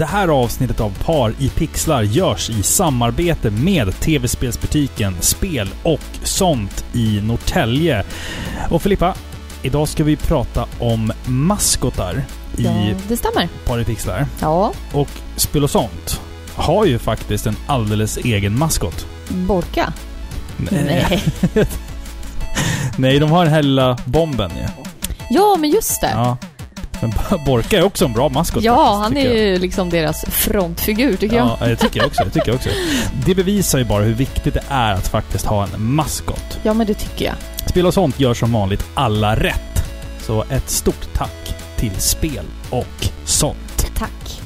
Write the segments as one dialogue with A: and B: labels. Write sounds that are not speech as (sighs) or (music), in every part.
A: Det här avsnittet av Par i pixlar görs i samarbete med tv-spelsbutiken Spel och sånt i Norrtälje. Och Filippa, idag ska vi prata om maskotar i
B: Det, det stämmer.
A: Par i pixlar.
B: Ja,
A: Och Spel och sånt har ju faktiskt en alldeles egen maskot.
B: Borka.
A: Eh.
B: Nej.
A: Nej, de har den här lilla bomben ju.
B: Ja, men just det.
A: Ja. Men (laughs) Borka är också en bra maskot.
B: Ja,
A: faktiskt,
B: han
A: tycker
B: är
A: jag.
B: ju liksom deras frontfigur tycker jag.
A: Ja, det tycker jag också. Det tycker jag också. Det bevisar ju bara hur viktigt det är att faktiskt ha en maskot.
B: Ja, men det tycker jag.
A: Spel och sånt gör som vanligt alla rätt. Så ett stort tack till Spel och sånt.
B: Tack.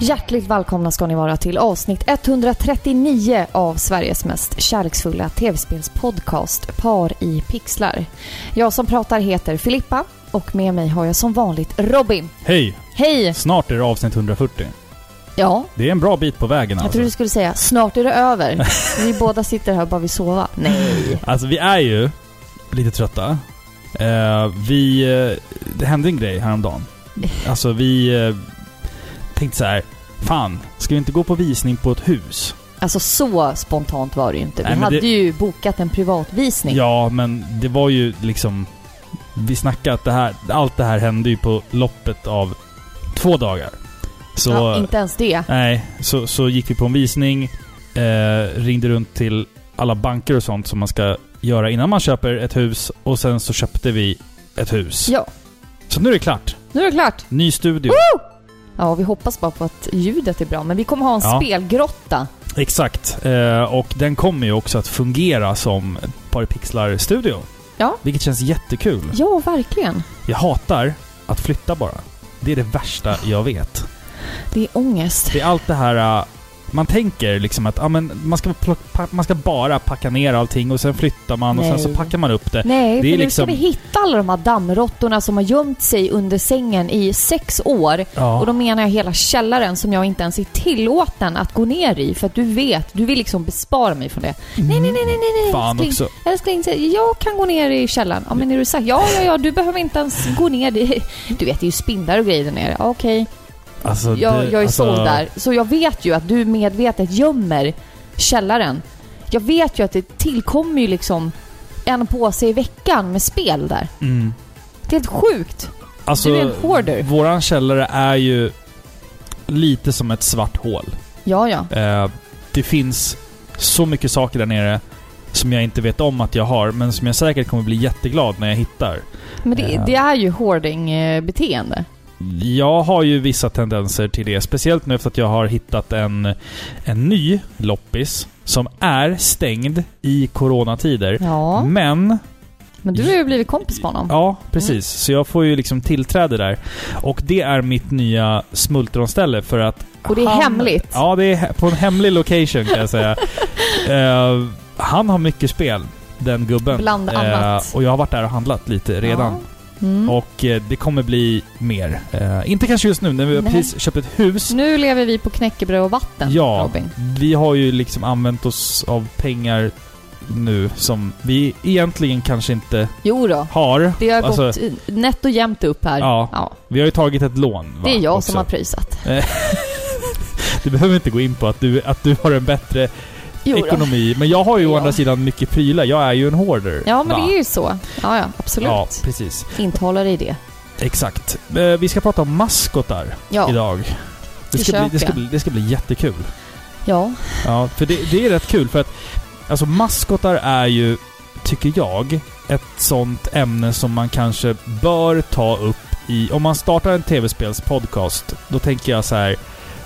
B: Hjärtligt välkomna ska ni vara till avsnitt 139 av Sveriges mest kärleksfulla tv-spelspodcast Par i pixlar. Jag som pratar heter Filippa och med mig har jag som vanligt Robin.
A: Hej!
B: Hej!
A: Snart är det avsnitt 140.
B: Ja,
A: Det är en bra bit på vägen
B: jag
A: alltså.
B: trodde du skulle säga snart är
A: (laughs)
B: det över. Vi båda sitter här och bara vill sova. Nej.
A: Alltså vi är ju lite trötta. Eh, vi... eh, det hände en grej
B: (laughs)
A: häromdagen. Alltså vi eh, tänkte så här. Fan, ska vi inte gå på visning på ett hus?
B: Alltså så spontant var det ju inte. Vi
A: Nej, men
B: hade
A: det-
B: ju bokat en privatvisning.
A: Ja, men det var ju liksom... Vi snackade att det här, allt det här hände ju på loppet av två dagar. Så,
B: Ja, inte ens det.
A: nej, så, så gick vi på en visning, eh, ringde runt till alla banker och sånt som man ska göra innan man köper ett hus och sen så köpte vi ett hus.
B: Ja,
A: Så nu är det klart.
B: nu är det klart.
A: Ny studio.
B: Ja, vi hoppas bara på att ljudet är bra. Men vi kommer ha en
A: Ja.
B: spelgrotta.
A: Exakt. Eh, och den kommer ju också att fungera som Paripixlar-studio.
B: Ja.
A: Vilket känns jättekul.
B: Ja, verkligen.
A: Jag hatar att flytta bara. Det är det värsta jag vet.
B: Det är ångest.
A: Det är allt det här... äh, Man tänker liksom att ah, men man, ska plock, pa, man ska bara packa ner allting och sen flyttar man och
B: Nej.
A: sen så packar man upp det.
B: Nej,
A: det är
B: för nu
A: liksom-
B: ska vi hitta alla de här dammråttorna som har gömt sig under sängen i sex år. Och
A: Ja.
B: då menar jag hela källaren som jag inte ens är tillåten att gå ner i. För att du vet, du vill liksom bespara mig från det. Nej, nej, nej, nej, nej, nej.
A: Mm. Fan
B: älskling.
A: också.
B: Älskling, säg, jag kan gå ner i källaren. Ja, men är du säker? Ja, ja, ja, du behöver inte ens gå ner. Det- (laughs) Du vet, det är ju spindlar och grejer där nere. Ja, Okej,
A: Alltså,
B: jag,
A: det-
B: jag är
A: alltså,
B: såld där. Så jag vet ju att du medvetet gömmer källaren. Jag vet ju att det tillkommer ju liksom en påse i veckan med spel där.
A: Mm.
B: Det är helt sjukt.
A: Alltså,
B: Du är en hoarder.
A: Våran källare är ju lite som ett svart hål.
B: Ja, ja.
A: Eh, det finns så mycket saker där nere som jag inte vet om att jag har, men som jag säkert kommer bli jätteglad när jag hittar.
B: Men det,
A: Ja.
B: det är ju hoarding-beteende.
A: Jag har ju vissa tendenser till det. Speciellt nu efter att jag har hittat en, en ny loppis som är stängd i coronatider.
B: Ja,
A: Men,
B: men du har ju blivit kompis med honom.
A: ja precis. Så jag får ju liksom tillträde där. Och det är mitt nya smultronställe för att...
B: Och det är hemligt.
A: Ja, det är he- på en hemlig location kan jag
B: (laughs)
A: säga. Eh, han har mycket spel, den gubben.
B: Bland
A: Eh,
B: annat.
A: och jag har varit där och handlat lite redan.
B: Ja. Mm.
A: Och eh, det kommer bli mer. Eh, inte kanske just nu när vi har
B: Nej.
A: precis köpt ett hus.
B: Nu lever vi på knäckebröd och vatten,
A: Ja.
B: Robin.
A: Vi har ju liksom använt oss av pengar nu som vi egentligen kanske inte
B: Jo då.
A: har.
B: Det har
A: Alltså-
B: gått nätt och jämnt upp här.
A: Ja.
B: ja.
A: Vi har ju tagit ett lån. Va?
B: Det är jag
A: också.
B: som har pröjsat.
A: Du behöver inte gå in på att du, att du har en bättre
B: Jo då.
A: ekonomi. Men jag har ju å
B: Ja.
A: andra sidan mycket prylar. Jag är ju en hoarder.
B: Ja, men
A: va?
B: det är ju så. Ja, ja, absolut.
A: Ja, precis.
B: Inte hålla dig i det.
A: Exakt. Eh, Vi ska prata om maskotar
B: Ja,
A: idag. Det
B: Det
A: ska, bli, det, ska
B: köper
A: bli, det ska bli jättekul.
B: ja,
A: Ja, för det, det är rätt kul för att alltså maskotar är ju, tycker jag, ett sånt ämne som man kanske bör ta upp i... Om man startar en tv-spelspodcast, då tänker jag så här,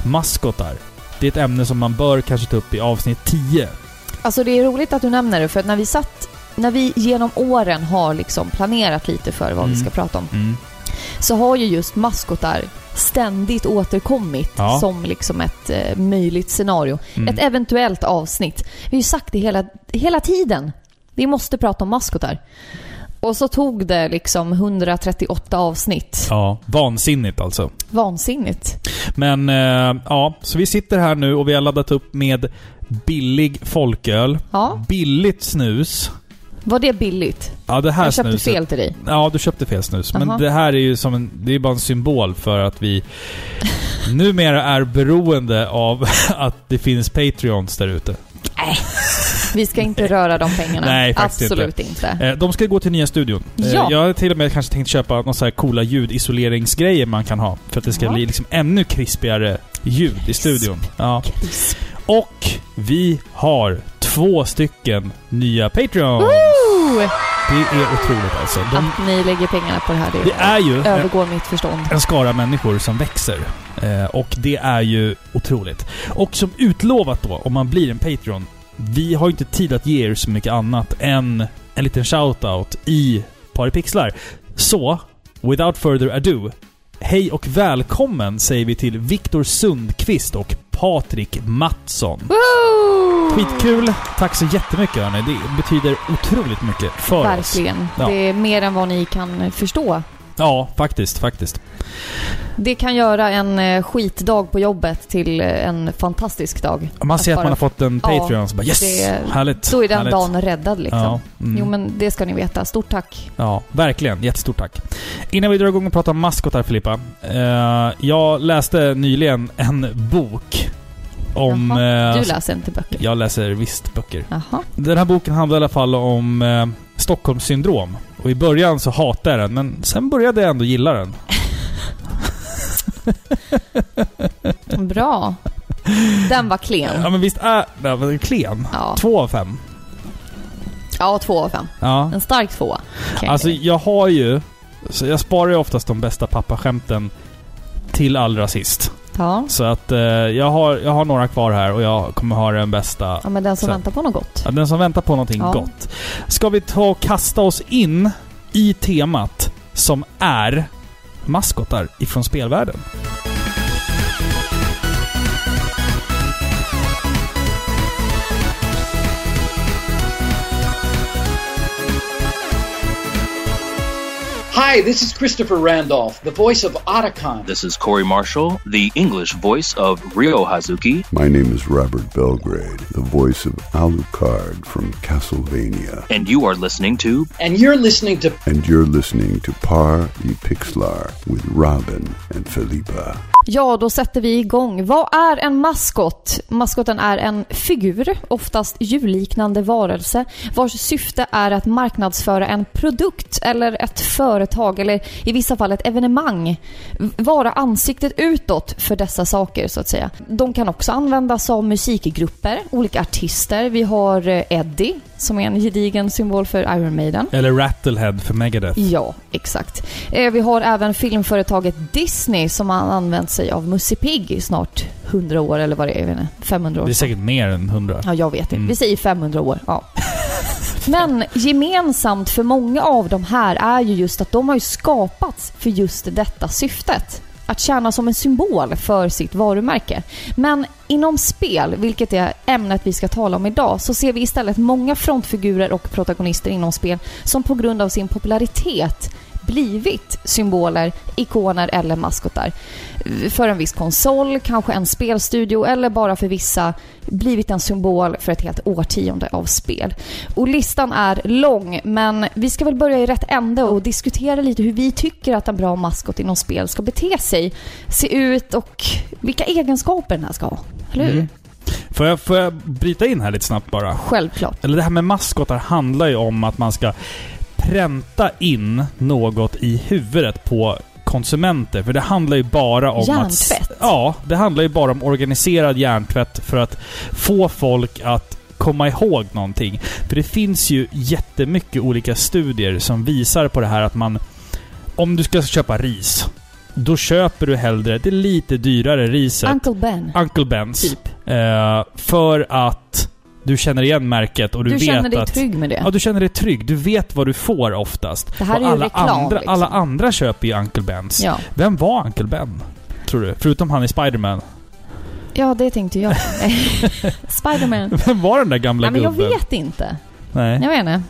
A: maskotar. Det är ett ämne som man bör kanske ta upp i avsnitt 10.
B: alltså det är roligt att du nämner det för att när vi satt, när vi genom åren har liksom planerat lite för vad vi
A: Mm.
B: ska prata om så har ju just maskotar ständigt återkommit
A: Ja.
B: som liksom ett eh, möjligt scenario.
A: Mm.
B: Ett eventuellt avsnitt. Vi har ju sagt det hela, hela tiden. Vi måste prata om maskotar. Och så tog det liksom 138 avsnitt.
A: Ja, vansinnigt alltså.
B: Vansinnigt.
A: Men eh, ja, så vi sitter här nu och vi har laddat upp med billig folköl,
B: Ja,
A: billigt snus.
B: var det billigt?
A: Ja, det här
B: Jag köpte
A: snuset.
B: fel till dig.
A: Ja, du köpte fel snus. Men
B: Aha.
A: det här är ju som en, det är bara en symbol för att
B: (laughs)
A: vi numera är beroende av (laughs) att det finns Patreons där ute.
B: Vi ska inte röra de pengarna.
A: Nej, faktiskt
B: Absolut inte.
A: Eh, De ska gå till nya studion. Eh,
B: Ja.
A: Jag har till och med kanske tänkt köpa några så här coola ljudisoleringsgrejer man kan ha. För att det ska
B: Ja.
A: bli liksom ännu krispigare ljud i studion. Ja.
B: Crisp.
A: Och vi har två stycken nya Patreons.
B: Woo!
A: Det är otroligt alltså. De,
B: Att ni lägger pengarna på det här, det,
A: det är ju en,
B: övergår mitt förstånd.
A: en skara människor som växer. Eh, Och det är ju otroligt. Och som utlovat då, om man blir en Patreon. Vi har ju inte tid att ge er så mycket annat än en liten shoutout i Paripixlar. Så, without further ado. Hej och välkommen säger vi till Viktor Sundqvist och Patrik Mattsson.
B: Woo!
A: Skitkul! Tack så jättemycket hörni. Det betyder otroligt mycket för oss.
B: Verkligen.
A: Ja.
B: Det är mer än vad ni kan förstå.
A: Ja, faktiskt, faktiskt.
B: Det kan göra en eh, skitdag på jobbet till eh, en fantastisk dag.
A: Man ser att,
B: Att bara-
A: man har fått en
B: Ja,
A: Patreon så bara yes!
B: det-
A: härligt!
B: Så är den
A: härligt.
B: dagen räddad liksom.
A: Ja, mm,
B: Jo men det ska ni veta. Stort tack.
A: ja, verkligen. Jättestort tack. Innan vi drar igång och pratar om maskotar Filippa. Eh, jag läste nyligen en bok om... eh,
B: Du läser inte böcker?
A: jag läser visst böcker.
B: Jaha.
A: Den här boken handlar i alla fall om eh, Stockholms syndrom. Och i början så hatade jag den, men sen började jag ändå gilla den.
B: Bra. Den var
A: Ja
B: klen.
A: men visst är den var klen?
B: Ja.
A: Två av fem.
B: ja, två av fem.
A: Ja.
B: En stark tvåa. kan jag
A: Alltså
B: säga.
A: jag har ju... Så jag sparar ju oftast de bästa pappaskämten till allra sist.
B: ja.
A: Så att eh, jag, har, jag har några kvar här och jag kommer ha den bästa.
B: ja, men den som
A: Så.
B: väntar på något gott.
A: Ja, Den som väntar på någonting
B: Ja.
A: gott. Ska vi ta och kasta oss in i temat som är maskotar ifrån spelvärlden?
C: Hi, this is Christopher Randolph, the voice of Otacon.
D: This is Corey Marshall, the English voice of Ryo Hazuki.
E: My name is Robert Belgrade, the voice of Alucard from Castlevania,
D: And you are listening to
C: and you're listening to
E: and you're listening to Par e Pixlar with Robin and Philippa.
B: Ja, då sätter vi igång. Vad är en maskot? Maskoten är en figur, oftast djurliknande varelse, vars syfte är att marknadsföra en produkt eller ett företag eller i vissa fall ett evenemang. Vara ansiktet utåt för dessa saker så att säga. De kan också användas av musikgrupper, olika artister. Vi har eh, Eddie, som är en gedigen symbol för Iron Maiden.
A: Eller Rattlehead för Megadeth.
B: Ja, exakt. Eh, Vi har även filmföretaget Disney som har använt sig av Musse Pigg i snart 100 år eller vad det är, jag vet inte, 500
A: Det
B: år.
A: är säkert mer än hundra.
B: Ja, jag vet inte.
A: Mm.
B: Vi säger 500 år. Ja. (laughs) Men gemensamt för många av de här är ju just att de har ju skapats för just detta syftet. Att tjäna som en symbol för sitt varumärke. Men inom spel, vilket är ämnet vi ska tala om idag, så ser vi istället många frontfigurer och protagonister inom spel som på grund av sin popularitet blivit symboler, ikoner eller maskotar. För en viss konsol, kanske en spelstudio eller bara för vissa blivit en symbol för ett helt årtionde av spel. Och listan är lång, men vi ska väl börja i rätt ände och diskutera lite hur vi tycker att en bra maskot inom spel ska bete sig, se ut och vilka egenskaper den här ska ha. Eller hur?
A: Mm. Får, jag, får jag bryta in här lite snabbt bara?
B: Självklart.
A: Eller det här med maskotar handlar ju om att man ska pränta in något i huvudet på konsumenter. För det handlar ju bara om
B: Hjärntvätt.
A: att... Ja, det handlar ju bara om organiserad hjärntvätt för att få folk att komma ihåg någonting. För det finns ju jättemycket olika studier som visar på det här att man... Om du ska köpa ris, då köper du hellre det lite dyrare riset.
B: Uncle Ben.
A: Uncle Bens.
B: Typ.
A: Eh, för att du känner igen märket och du,
B: Du,
A: vet
B: känner dig
A: att...
B: trygg med det.
A: Ja, du känner dig trygg. Du vet vad du får oftast.
B: Det här
A: och
B: är ju
A: alla,
B: reklam,
A: andra,
B: liksom.
A: alla andra köper ju Uncle Bens.
B: Ja.
A: Vem var Uncle Ben? tror du? Förutom han i Spiderman. (laughs)
B: Ja, det tänkte jag. Spiderman.
A: Vem var den där gamla
B: Nej, men jag
A: gubben?
B: vet inte.
A: Nej.
B: Jag vet inte.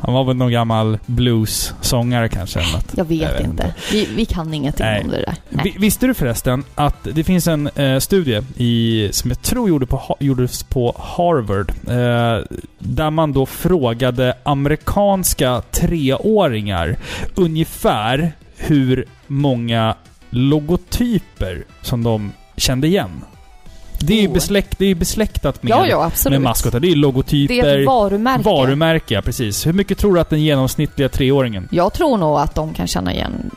A: Han var väl någon gammal blues-sångare kanske. Eller något.
B: Jag vet,
A: Jag vet
B: inte. Vi, vi kan ingenting
A: Nej.
B: om det där. Nej.
A: Vi- Visste du förresten att det finns en eh, studie i, som jag tror gjorde på, Ha- gjordes på Harvard, eh, där man då frågade amerikanska treåringar ungefär hur många logotyper som de kände igen. Det är ju
B: Oh.
A: besläkt, det är ju besläktat med,
B: Ja, ja, absolut.
A: med maskotar. Det är ju
B: Det är
A: logotyper,
B: ett varumärke.
A: varumärke, ja, precis. Hur mycket tror du att den genomsnittliga treåringen
B: Jag tror nog att de kan känna igen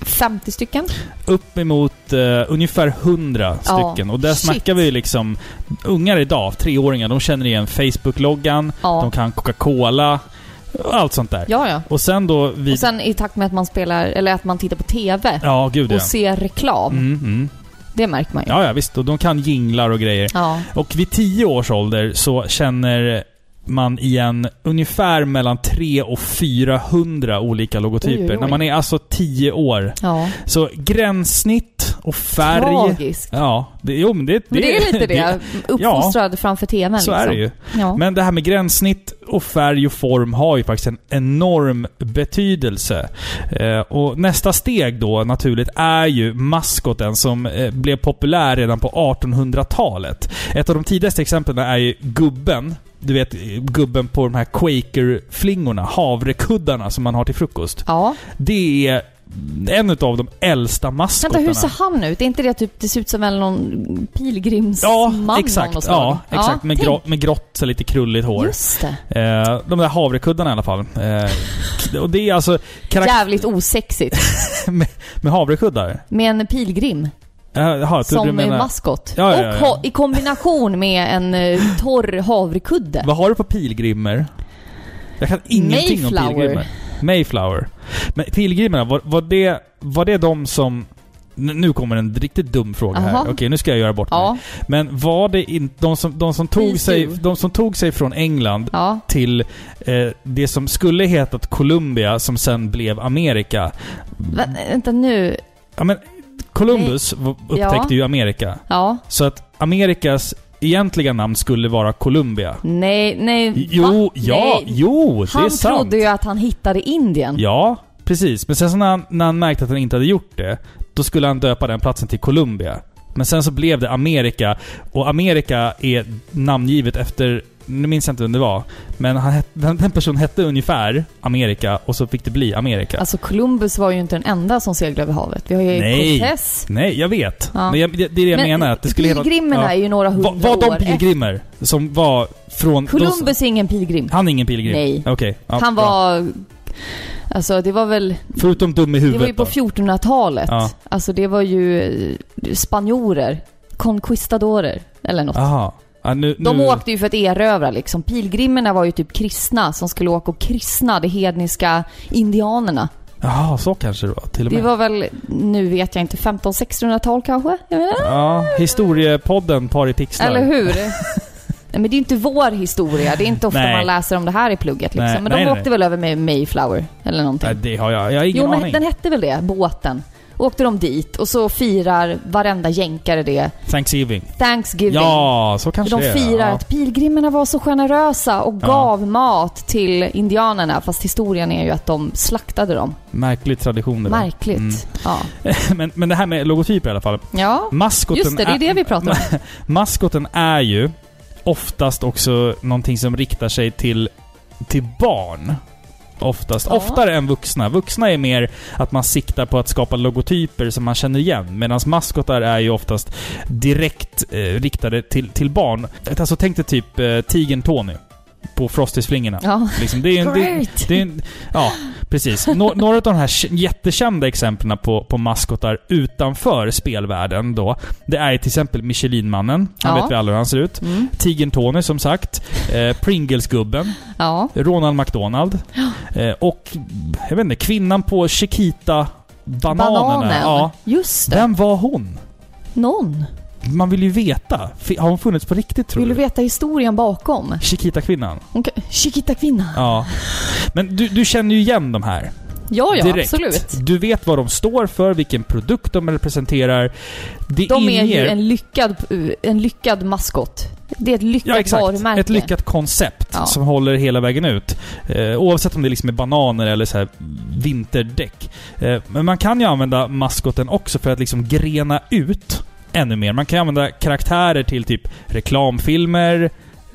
B: 50 stycken.
A: uppemot eh, ungefär 100
B: Ja,
A: stycken. Och där
B: shit.
A: snackar vi liksom ungar idag, treåringar, de känner igen Facebook-loggan, de
B: Ja,
A: kan Coca-Cola, allt sånt där.
B: ja. ja.
A: Och sen då
B: Och
A: vid...
B: sen i takt med att man spelar, eller att man tittar på TV
A: ja, gud ja.
B: och ser reklam.
A: Mm, mm.
B: Det märker man ju.
A: Ja, ja, visst. Och de kan jinglar och grejer.
B: Ja.
A: Och vid 10 års ålder så känner man igen ungefär mellan 300 och 400 olika logotyper.
B: Oj, oj, oj.
A: När man är alltså 10 år.
B: ja.
A: Så gränssnitt och färg.
B: Tragiskt.
A: Ja, det, jo, men det,
B: Men det, är lite det. Uppfostrad framför TVn
A: Så
B: liksom.
A: är det ju.
B: Ja.
A: Men det här med gränssnitt och färg och form har ju faktiskt en enorm betydelse. Eh, och nästa steg då naturligt är ju maskoten som eh, blev populär redan på 1800-talet. Ett av de tidigaste exemplen är ju gubben. Du vet gubben på de här Quaker-flingorna, havrekuddarna som man har till frukost.
B: ja.
A: Det är en av de äldsta maskotarna.
B: Vänta, hur ser han ut? Är inte det typ, det ser ut som väl någon
A: Ja,
B: pilgrimsman av något
A: exakt.
B: slag?
A: Ja, exakt. med,
B: tänk.
A: grå, med grått, så lite krulligt hår.
B: Just det.
A: Eh, de där havrekuddarna i alla fall. Eh, k- och det är alltså... Karak-
B: Jävligt osexigt.
A: med havrekuddar?
B: Med en pilgrim
A: Eh, Jaha, jag trodde du
B: som
A: menar...
B: maskot.
A: Ja, ja, ja,
B: Och
A: ja.
B: ha, i kombination med en eh, torr havrekudde.
A: Vad har du på pilgrimer? Jag kan ingenting om
B: Mayflower.
A: pilgrimer. Mayflower. Men pilgrimerna, var, var, det, var det de som... N- Nu kommer en riktigt dum fråga här.
B: Jaha.
A: Okej, nu ska jag göra bort mig.
B: Ja,
A: Men var det inte de som, de, som tog
B: Please
A: sig,
B: do.
A: de som tog sig från England
B: ja.
A: till eh, det som skulle hetat Colombia, som sen blev Amerika.
B: Vä- Vänta nu.
A: Ja, men Columbus v- upptäckte ju Amerika.
B: Ja.
A: Så att Amerikas egentliga namn skulle vara Columbia.
B: Nej, nej.
A: Jo,
B: Mm. va?
A: ja,
B: Nej.
A: jo, det är
B: Han
A: sant.
B: trodde ju att han hittade Indien.
A: Ja, precis. Men sen så när han, när han märkte att han inte hade gjort det, då skulle han döpa den platsen till Columbia. Men sen så blev det Amerika, och Amerika är namngivet efter, nu minns jag inte vem det var, men han, het- den, den personen hette ungefär Amerika, och så fick det bli Amerika.
B: Alltså Columbus var ju inte den enda som seglade över havet. Vi har ju
A: Nej.
B: Cortez.
A: Nej, jag vet.
B: Ja.
A: Men jag, det, det är det jag menar. Att det skulle heta-
B: pilgrimerna
A: ja.
B: är ju några hundra
A: Va- Var
B: år
A: de pilgrimer? Som var från...
B: efter. Columbus är ingen pilgrim.
A: de- han är ingen pilgrim?
B: Nej.
A: Okej. ja,
B: han
A: bra.
B: var... Alltså det var väl...
A: Förutom dum i
B: Det
A: huvudet
B: var ju på
A: då.
B: 1400-talet.
A: Ja.
B: Alltså det var ju eh, spanjorer. Conquistadorer. Eller något.
A: Aha. Ja, nu,
B: De
A: nu...
B: åkte ju för att erövra liksom. Pilgrimerna var ju typ kristna som skulle åka och kristna de hedniska indianerna.
A: Jaha, så kanske det var. Till och
B: Det
A: med.
B: var väl, nu vet jag inte, 1500-1600-tal kanske? Jag menar,
A: Ja, historiepodden Par i pixlar.
B: eller hur?
A: (laughs)
B: Nej, men det är ju inte vår historia. Det är inte ofta
A: Nej.
B: man läser om det här i plugget. Liksom.
A: Nej,
B: men
A: nej,
B: de
A: nej.
B: åkte väl över med Mayflower eller någonting.
A: Nej, det har jag. Jag har ingen
B: jo, men
A: aning.
B: den hette väl det, båten. Åkte de dit och så firar varenda jänkare det.
A: Thanksgiving.
B: Thanksgiving.
A: Ja, så kanske
B: De
A: det är.
B: firar
A: Ja.
B: att pilgrimerna var så generösa och
A: Ja.
B: gav mat till indianerna. Fast historien är ju att de slaktade dem.
A: Märklig tradition det där. Mm.
B: Märkligt. Ja.
A: (laughs) men, men det här med logotyper i alla fall.
B: ja,
A: Maskoten
B: just det. Det är det vi
A: (laughs)
B: pratar om.
A: Maskoten är ju oftast också någonting som riktar sig till, till barn. Oftast.
B: Ja.
A: Oftare än vuxna. Vuxna är mer att man siktar på att skapa logotyper som man känner igen. Medan maskotar är ju oftast direkt eh, riktade till, till barn. Alltså tänk dig typ eh, tigern Tony på Frosties-flingorna.
B: Ja.
A: Liksom, det är ju en, det,
B: Great!
A: det är en, ja, precis. Nå, några av de här k- jättekända exemplen på, på maskotar utanför spelvärlden då, det är till exempel Michelinmannen. Han
B: Ja.
A: vet vi alla hur han ser ut.
B: Mm.
A: Tigern Tony, som sagt. Eh, Pringlesgubben.
B: Ja.
A: Ronald McDonald. Eh, och, jag vet inte, kvinnan på Chiquita-bananerna.
B: Bananen.
A: Ja.
B: Just det.
A: Vem var hon?
B: Någon.
A: Man vill ju veta. Fi- Har hon funnits på riktigt, tror
B: Vill du
A: du?
B: veta historien bakom?
A: Chiquita-kvinnan.
B: Hon kan- Chiquita kvinna.
A: Ja. Men du, du känner ju igen de här.
B: Ja, ja,
A: direkt.
B: absolut.
A: Du vet vad de står för, vilken produkt de representerar. Det
B: De är ju
A: inger-
B: en lyckad, en lyckad maskot. Det är ett lyckat
A: Ja, exakt.
B: varumärke.
A: Ett lyckat koncept
B: Ja.
A: som håller hela vägen ut. Eh, oavsett om det liksom är bananer eller så här vinterdäck. Eh, men man kan ju använda maskoten också för att liksom grena ut ännu mer. Man kan använda karaktärer till typ reklamfilmer,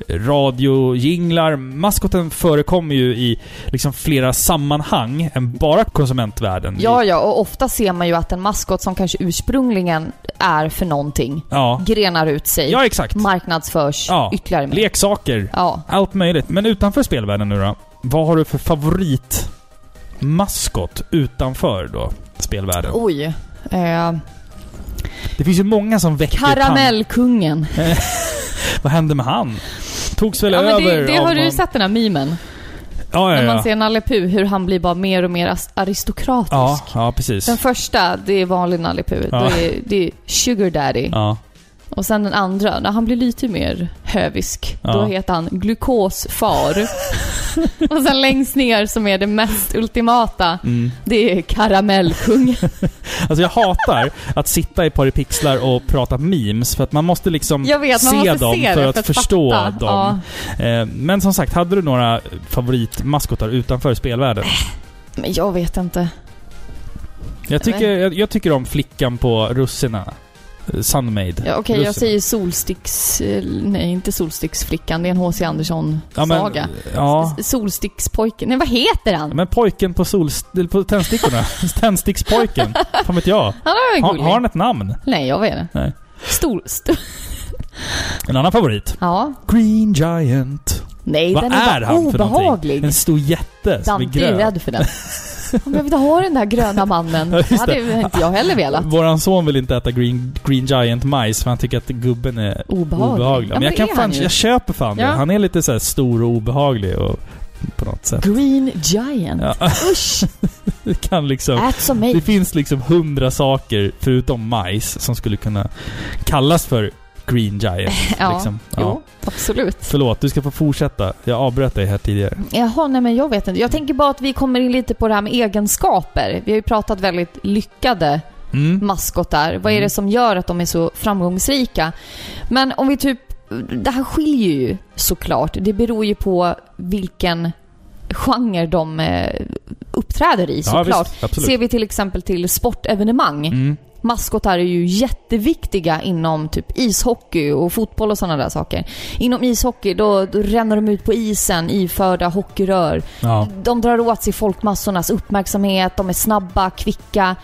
A: radiojinglar. Maskoten förekommer ju i liksom flera sammanhang än bara konsumentvärlden.
B: Ja, ja, och ofta ser man ju att en maskot som kanske ursprungligen är för någonting
A: ja.
B: grenar ut sig,
A: Ja, exakt.
B: marknadsförs
A: Ja.
B: ytterligare mer.
A: Leksaker.
B: Ja.
A: Allt möjligt. Men utanför spelvärlden nu då? Vad har du för favorit maskot utanför då spelvärlden?
B: Oj. Eh,
A: Det finns ju många som väcker tan-
B: karamellkungen.
A: Vad hände med han? Togs väl
B: Ja, men
A: över
B: det, det
A: av
B: har du ju
A: någon-
B: sett den här memen.
A: Ja, ja,
B: När man
A: ja.
B: ser Nalle Puh, hur han blir bara mer och mer as- aristokratisk.
A: Ja, ja, precis.
B: Den första, det är vanlig Nalle Puh.
A: Ja.
B: Då är, det är Sugar Daddy.
A: Ja,
B: Och sen den andra, när han blir lite mer hövisk, då
A: Ja.
B: heter han glukosfar.
A: (laughs)
B: och sen längst ner som är det mest ultimata, det är karamellkung.
A: mm. alltså jag hatar att sitta i ett par i pixlar och prata memes för att man måste liksom
B: Jag vet, man
A: se
B: måste
A: dem
B: se det
A: för att,
B: fatta.
A: förstå
B: Ja.
A: dem. Eh, Men som sagt, hade du några favoritmaskotar utanför spelvärlden?
B: Men jag vet inte.
A: Jag tycker, jag, jag tycker om flickan på russina. Eh, Sunmaid.
B: Ja, Okej,
A: Russina.
B: jag säger solsticks... eh, Nej, inte solsticksflickan. Det är en
A: Ja,
B: H.C.
A: men-
B: Andersson-saga.
A: Ja.
B: S- Solstickspojken. Nej, vad heter han?
A: Men pojken på, sol, på
B: (laughs)
A: tändstickorna. Tändstickspojken. Fan vet jag.
B: Han är
A: Har,
B: gullig.
A: har han ett namn?
B: Nej, jag vet inte.
A: Nej.
B: Stor... St-
A: En annan favorit.
B: ja.
A: Green Giant.
B: Nej,
A: Vad
B: den
A: är
B: är, bara
A: han för
B: obehaglig.
A: någonting? En stor jätte som
B: Dante
A: är
B: är
A: grön.
B: rädd för den. Om jag vill ha den där gröna mannen.
A: Ja, just
B: Det hade ju inte jag heller velat.
A: Våran son vill inte äta Green, green Giant-majs för han tycker att gubben är
B: Obehaglig.
A: obehaglig.
B: Ja,
A: Men jag,
B: det
A: kan
B: är
A: fan,
B: han ju.
A: jag köper fan det.
B: Ja.
A: Han är lite så här stor och obehaglig och, på något sätt.
B: Green Giant.
A: Ja.
B: Usch!
A: (laughs) Det kan liksom...
B: Ät som mig.
A: Det finns liksom hundra saker, förutom majs, som skulle kunna kallas för Green Giant.
B: (laughs) Ja.
A: liksom.
B: Jo, absolut.
A: Förlåt, du ska få fortsätta. Jag avbröt dig här tidigare.
B: Jaha, nej men jag vet inte. Jag tänker bara att vi kommer in lite på det här med egenskaper. Vi har ju pratat väldigt lyckade
A: Mm.
B: maskotar. Vad är det som gör att de är så framgångsrika? Men om vi typ... Det här skiljer ju såklart. Det beror ju på vilken genre de eh, uppträder i
A: Ja,
B: såklart.
A: visst, absolut. Mm.
B: Ser vi till exempel till sportevenemang. Maskotar är ju jätteviktiga inom typ ishockey och fotboll och sådana där saker. Inom ishockey, då, då ränner de ut på isen iförda hockeyrör.
A: Ja.
B: De drar åt sig folkmassornas uppmärksamhet, de är snabba, kvicka.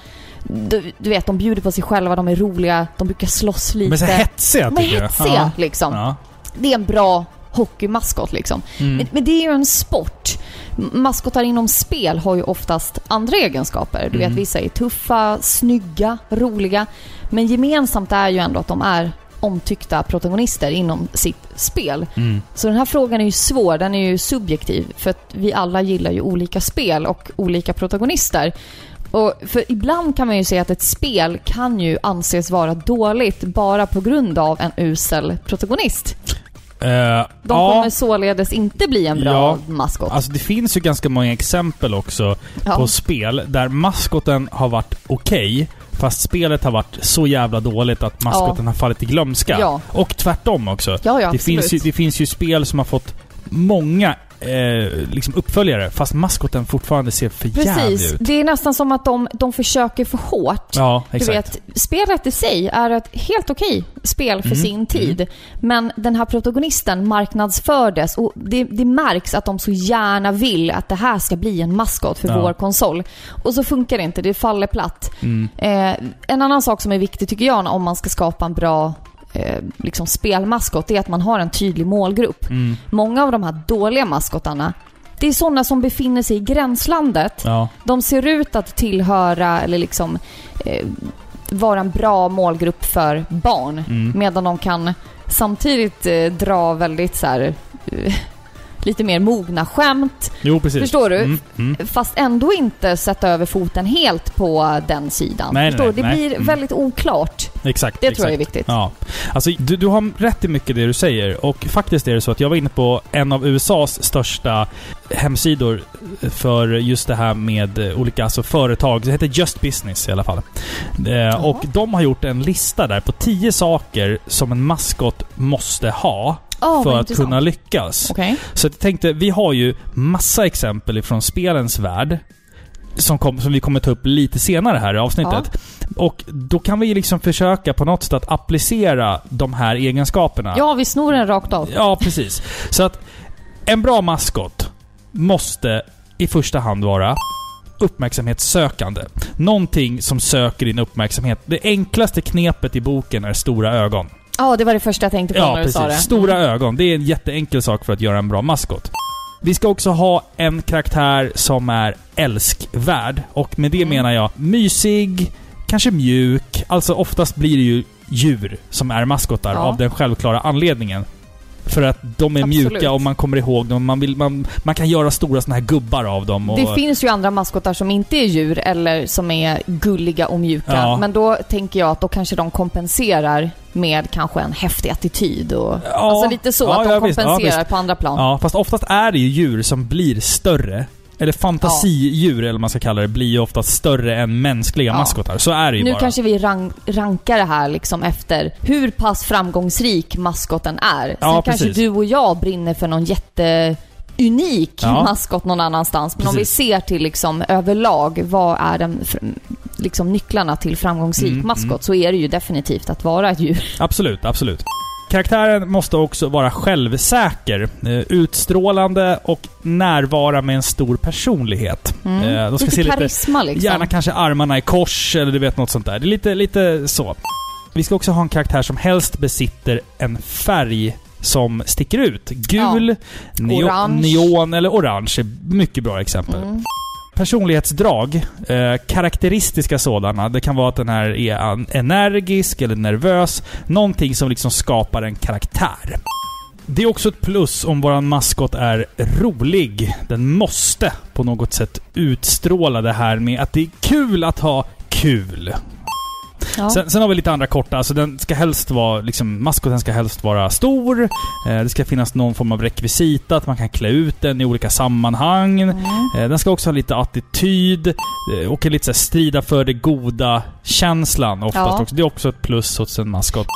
B: Du, du vet, de bjuder på sig själva, de är roliga, de brukar slåss lite.
A: Men så hetsiga
B: De är
A: tycker jag.
B: hetsiga
A: Ja.
B: liksom.
A: Ja.
B: Det är en bra hockeymaskot liksom. Men, men det är ju en sport. M- Maskotar inom spel har ju oftast andra egenskaper. Du vet, vissa är tuffa, snygga, roliga. Men gemensamt är ju ändå att de är omtyckta protagonister inom sitt spel. Så den här frågan är ju svår, den är ju subjektiv. För att vi alla gillar ju olika spel och olika protagonister. Och för ibland kan man ju säga att ett spel kan ju anses vara dåligt bara på grund av en usel protagonist.
A: Eh,
B: De
A: ja.
B: kommer således inte bli en bra
A: Ja.
B: maskot.
A: Alltså det finns ju ganska många exempel också
B: Ja.
A: på spel där maskoten har varit okej, fast spelet har varit så jävla dåligt att maskoten har fallit i glömska.
B: Ja.
A: Och tvärtom också.
B: ja, ja,
A: det,
B: absolut.
A: finns ju, det finns ju spel som har fått många eh, liksom uppföljare, fast maskoten fortfarande ser för jävlig
B: Precis.
A: ut.
B: Det är nästan som att de, de försöker för hårt.
A: Ja,
B: Du
A: exakt.
B: vet, spelet i sig är ett helt okej spel
A: Mm,
B: för sin tid. Men den här protagonisten marknadsfördes och det, det märks att de så gärna vill att det här ska bli en maskot för
A: Ja.
B: vår konsol. Och så funkar det inte, det faller platt.
A: Mm.
B: Eh, en annan sak som är viktig tycker jag om man ska skapa en bra eh, liksom spelmaskot, det är att man har en tydlig målgrupp.
A: Mm.
B: Många av de här dåliga maskotarna, det är sådana som befinner sig i gränslandet.
A: Ja.
B: De ser ut att tillhöra eller liksom eh, vara en bra målgrupp för
A: mm.
B: barn. Medan de kan samtidigt eh, dra väldigt så här eh, lite mer mogna skämt.
A: Jo, precis.
B: Förstår du?
A: Mm, mm.
B: Fast ändå inte sätta över foten helt på den sidan.
A: Nej,
B: Förstår
A: nej,
B: du? Det
A: nej.
B: blir
A: Mm.
B: väldigt oklart.
A: Exakt.
B: Det
A: exakt.
B: tror jag är viktigt.
A: Ja. Alltså, du, du har rätt i mycket det du säger. Och faktiskt är det så att jag var inne på en av USAs största hemsidor för just det här med eh, olika alltså, företag. Det heter Just Business i alla fall. Eh, och de har gjort en lista där på tio saker som en maskot måste ha
B: Oh,
A: för att kunna lyckas.
B: Okej.
A: Så jag tänkte, vi har ju massa exempel från spelens värld. Som, kom, som vi kommer ta upp lite senare här i avsnittet. Och då kan vi liksom försöka på något sätt att applicera de här egenskaperna.
B: Ja, vi snor den rakt av.
A: Ja, precis. Så att en bra maskot måste i första hand vara uppmärksamhetssökande. Någonting som söker din uppmärksamhet. Det enklaste knepet i boken är stora ögon.
B: Ja, det var det första jag tänkte på
A: Ja,
B: när du sa det.
A: precis. Stora ögon. Det är en jätteenkel sak för att göra en bra maskot. Vi ska också ha en karaktär som är älskvärd. Och med det
B: Mm.
A: menar jag mysig, kanske mjuk. Alltså oftast blir det ju djur som är maskotar
B: Ja.
A: av den självklara anledningen. För att de är
B: Absolut.
A: mjuka och man kommer ihåg dem. Man, vill, man, man kan göra stora såna här gubbar av dem. Och,
B: Det finns ju andra maskotar som inte är djur eller som är gulliga och mjuka.
A: Ja.
B: Men då tänker jag att då kanske de kompenserar med kanske en häftig attityd och...
A: Ja.
B: Alltså lite så,
A: Ja,
B: att de
A: ja, visst. Ja,
B: kompenserar
A: visst.
B: på andra plan.
A: Ja, fast oftast är det ju djur som blir större. Eller fantasidjur, eller vad man ska kalla det, blir ju oftast större än mänskliga
B: Ja.
A: maskotar. Så är det ju
B: Nu
A: bara.
B: kanske vi rank, rankar det här liksom efter hur pass framgångsrik maskoten är. Sen
A: Ja,
B: kanske
A: precis.
B: du och jag brinner för någon jätteunik
A: Ja.
B: maskot någon annanstans. Men om vi
A: Precis.
B: ser till liksom överlag, vad är den fr- liksom nycklarna till framgångsrik
A: Mm,
B: maskot? Så är det ju definitivt att vara ett djur.
A: Absolut, absolut. Karaktären måste också vara självsäker, eh, utstrålande och närvara med en stor personlighet. Eh, De ska
B: Mm. lite
A: se lite,
B: karisma liksom.
A: gärna kanske armarna i kors eller du vet något sånt där. Det är lite, lite så. Vi ska också ha en karaktär som helst besitter en färg som sticker ut. Gul, neo-
B: Orange.
A: neon eller orange är mycket bra exempel.
B: Mm.
A: Personlighetsdrag, eh, karaktäristiska sådana. Det kan vara att den här är an- energisk eller nervös. Någonting som liksom skapar en karaktär. Det är också ett plus om våran maskot är rolig. Den måste på något sätt utstråla det här med att det är kul att ha kul.
B: Ja.
A: Sen, sen har vi lite andra korta. Alltså den ska helst vara, liksom, maskoten ska helst vara stor. Eh, det ska finnas någon form av rekvisita, att man kan klä ut den i olika sammanhang.
B: Mm.
A: Eh, Den ska också ha lite attityd eh, och lite så här strida för det goda-känslan oftast
B: Ja.
A: också. Det är också ett plus hos en maskot.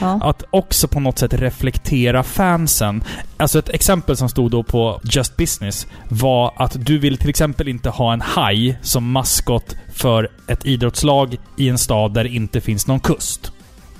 B: Ja.
A: Att också på något sätt reflektera fansen. Alltså ett exempel som stod då på Just Business var att du vill till exempel inte ha en haj som maskot för ett idrottslag i en stad där det inte finns någon kust.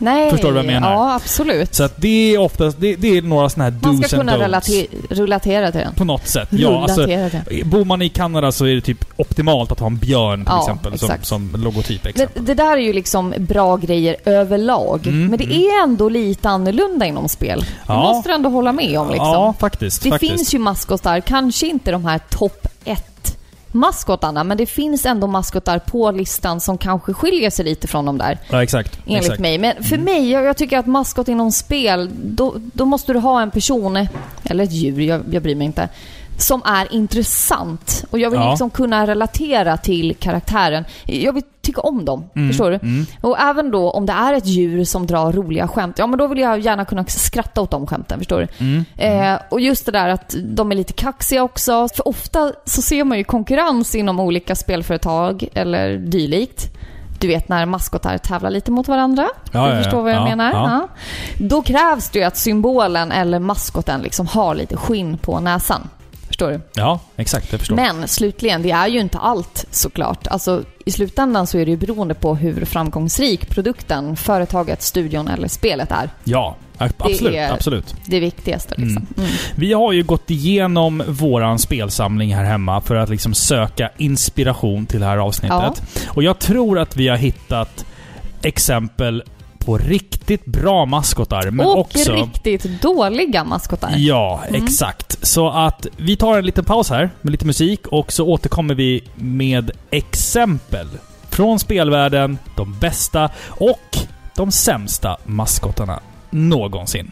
B: Nej.
A: Förstår du vad jag menar?
B: Ja, absolut.
A: Så att det är oftast, det, det är några sådana här
B: Man
A: do's
B: ska
A: and
B: kunna
A: don'ts.
B: relate- relatera till den.
A: På något sätt.
B: Relatera
A: Ja, alltså,
B: till den.
A: Bor man i Kanada så är det typ optimalt att ha en björn till
B: Ja,
A: exempel som,
B: exakt.
A: som logotyp.
B: Det,
A: Exempel.
B: det där är ju liksom bra grejer överlag.
A: Mm,
B: men det
A: mm.
B: är ändå lite annorlunda inom spel. Det
A: Ja.
B: måste du ändå hålla med om liksom.
A: Ja, faktiskt.
B: det
A: faktiskt.
B: finns ju maskotar, kanske inte de här topp 1 maskotarna, men det finns ändå maskotar på listan som kanske skiljer sig lite från de där,
A: Ja, exakt.
B: enligt
A: exakt. Mm.
B: mig. Men för mig, jag, jag tycker att maskot inom spel, då, då måste du ha en person, eller ett djur, jag, jag bryr mig inte, som är intressant. Och jag vill
A: Ja.
B: liksom kunna relatera till karaktären. Jag vill tycka om dem,
A: Mm,
B: förstår du? Och även då om det är ett djur som drar roliga skämt, ja men då vill jag gärna kunna skratta åt de skämten, förstår du?
A: Mm,
B: Eh, och just det där att de är lite kaxiga också. För ofta så ser man ju konkurrens inom olika spelföretag eller dylikt. Du vet när maskotar tävlar lite mot varandra.
A: Ja,
B: du
A: ja, ja.
B: förstår vad jag
A: Ja,
B: menar?
A: ja.
B: Ja. Då krävs det ju att symbolen eller maskoten liksom har lite skinn på näsan. Förstår du?
A: Ja, exakt. Jag förstår.
B: Men slutligen, det är ju inte allt såklart. Alltså, I slutändan så är det ju beroende på hur framgångsrik produkten, företaget, studion eller spelet är.
A: ja, ab- absolut.
B: är-
A: absolut.
B: Det viktigaste liksom. Mm.
A: Vi har ju gått igenom våran spelsamling här hemma för att liksom söka inspiration till det här avsnittet. Och jag tror att vi har hittat exempel på riktigt bra maskotar, men
B: och
A: också...
B: riktigt dåliga maskotar.
A: Ja,
B: Mm.
A: exakt. Så att vi tar en liten paus här med lite musik och så återkommer vi med exempel från spelvärlden, de bästa och de sämsta maskotarna någonsin.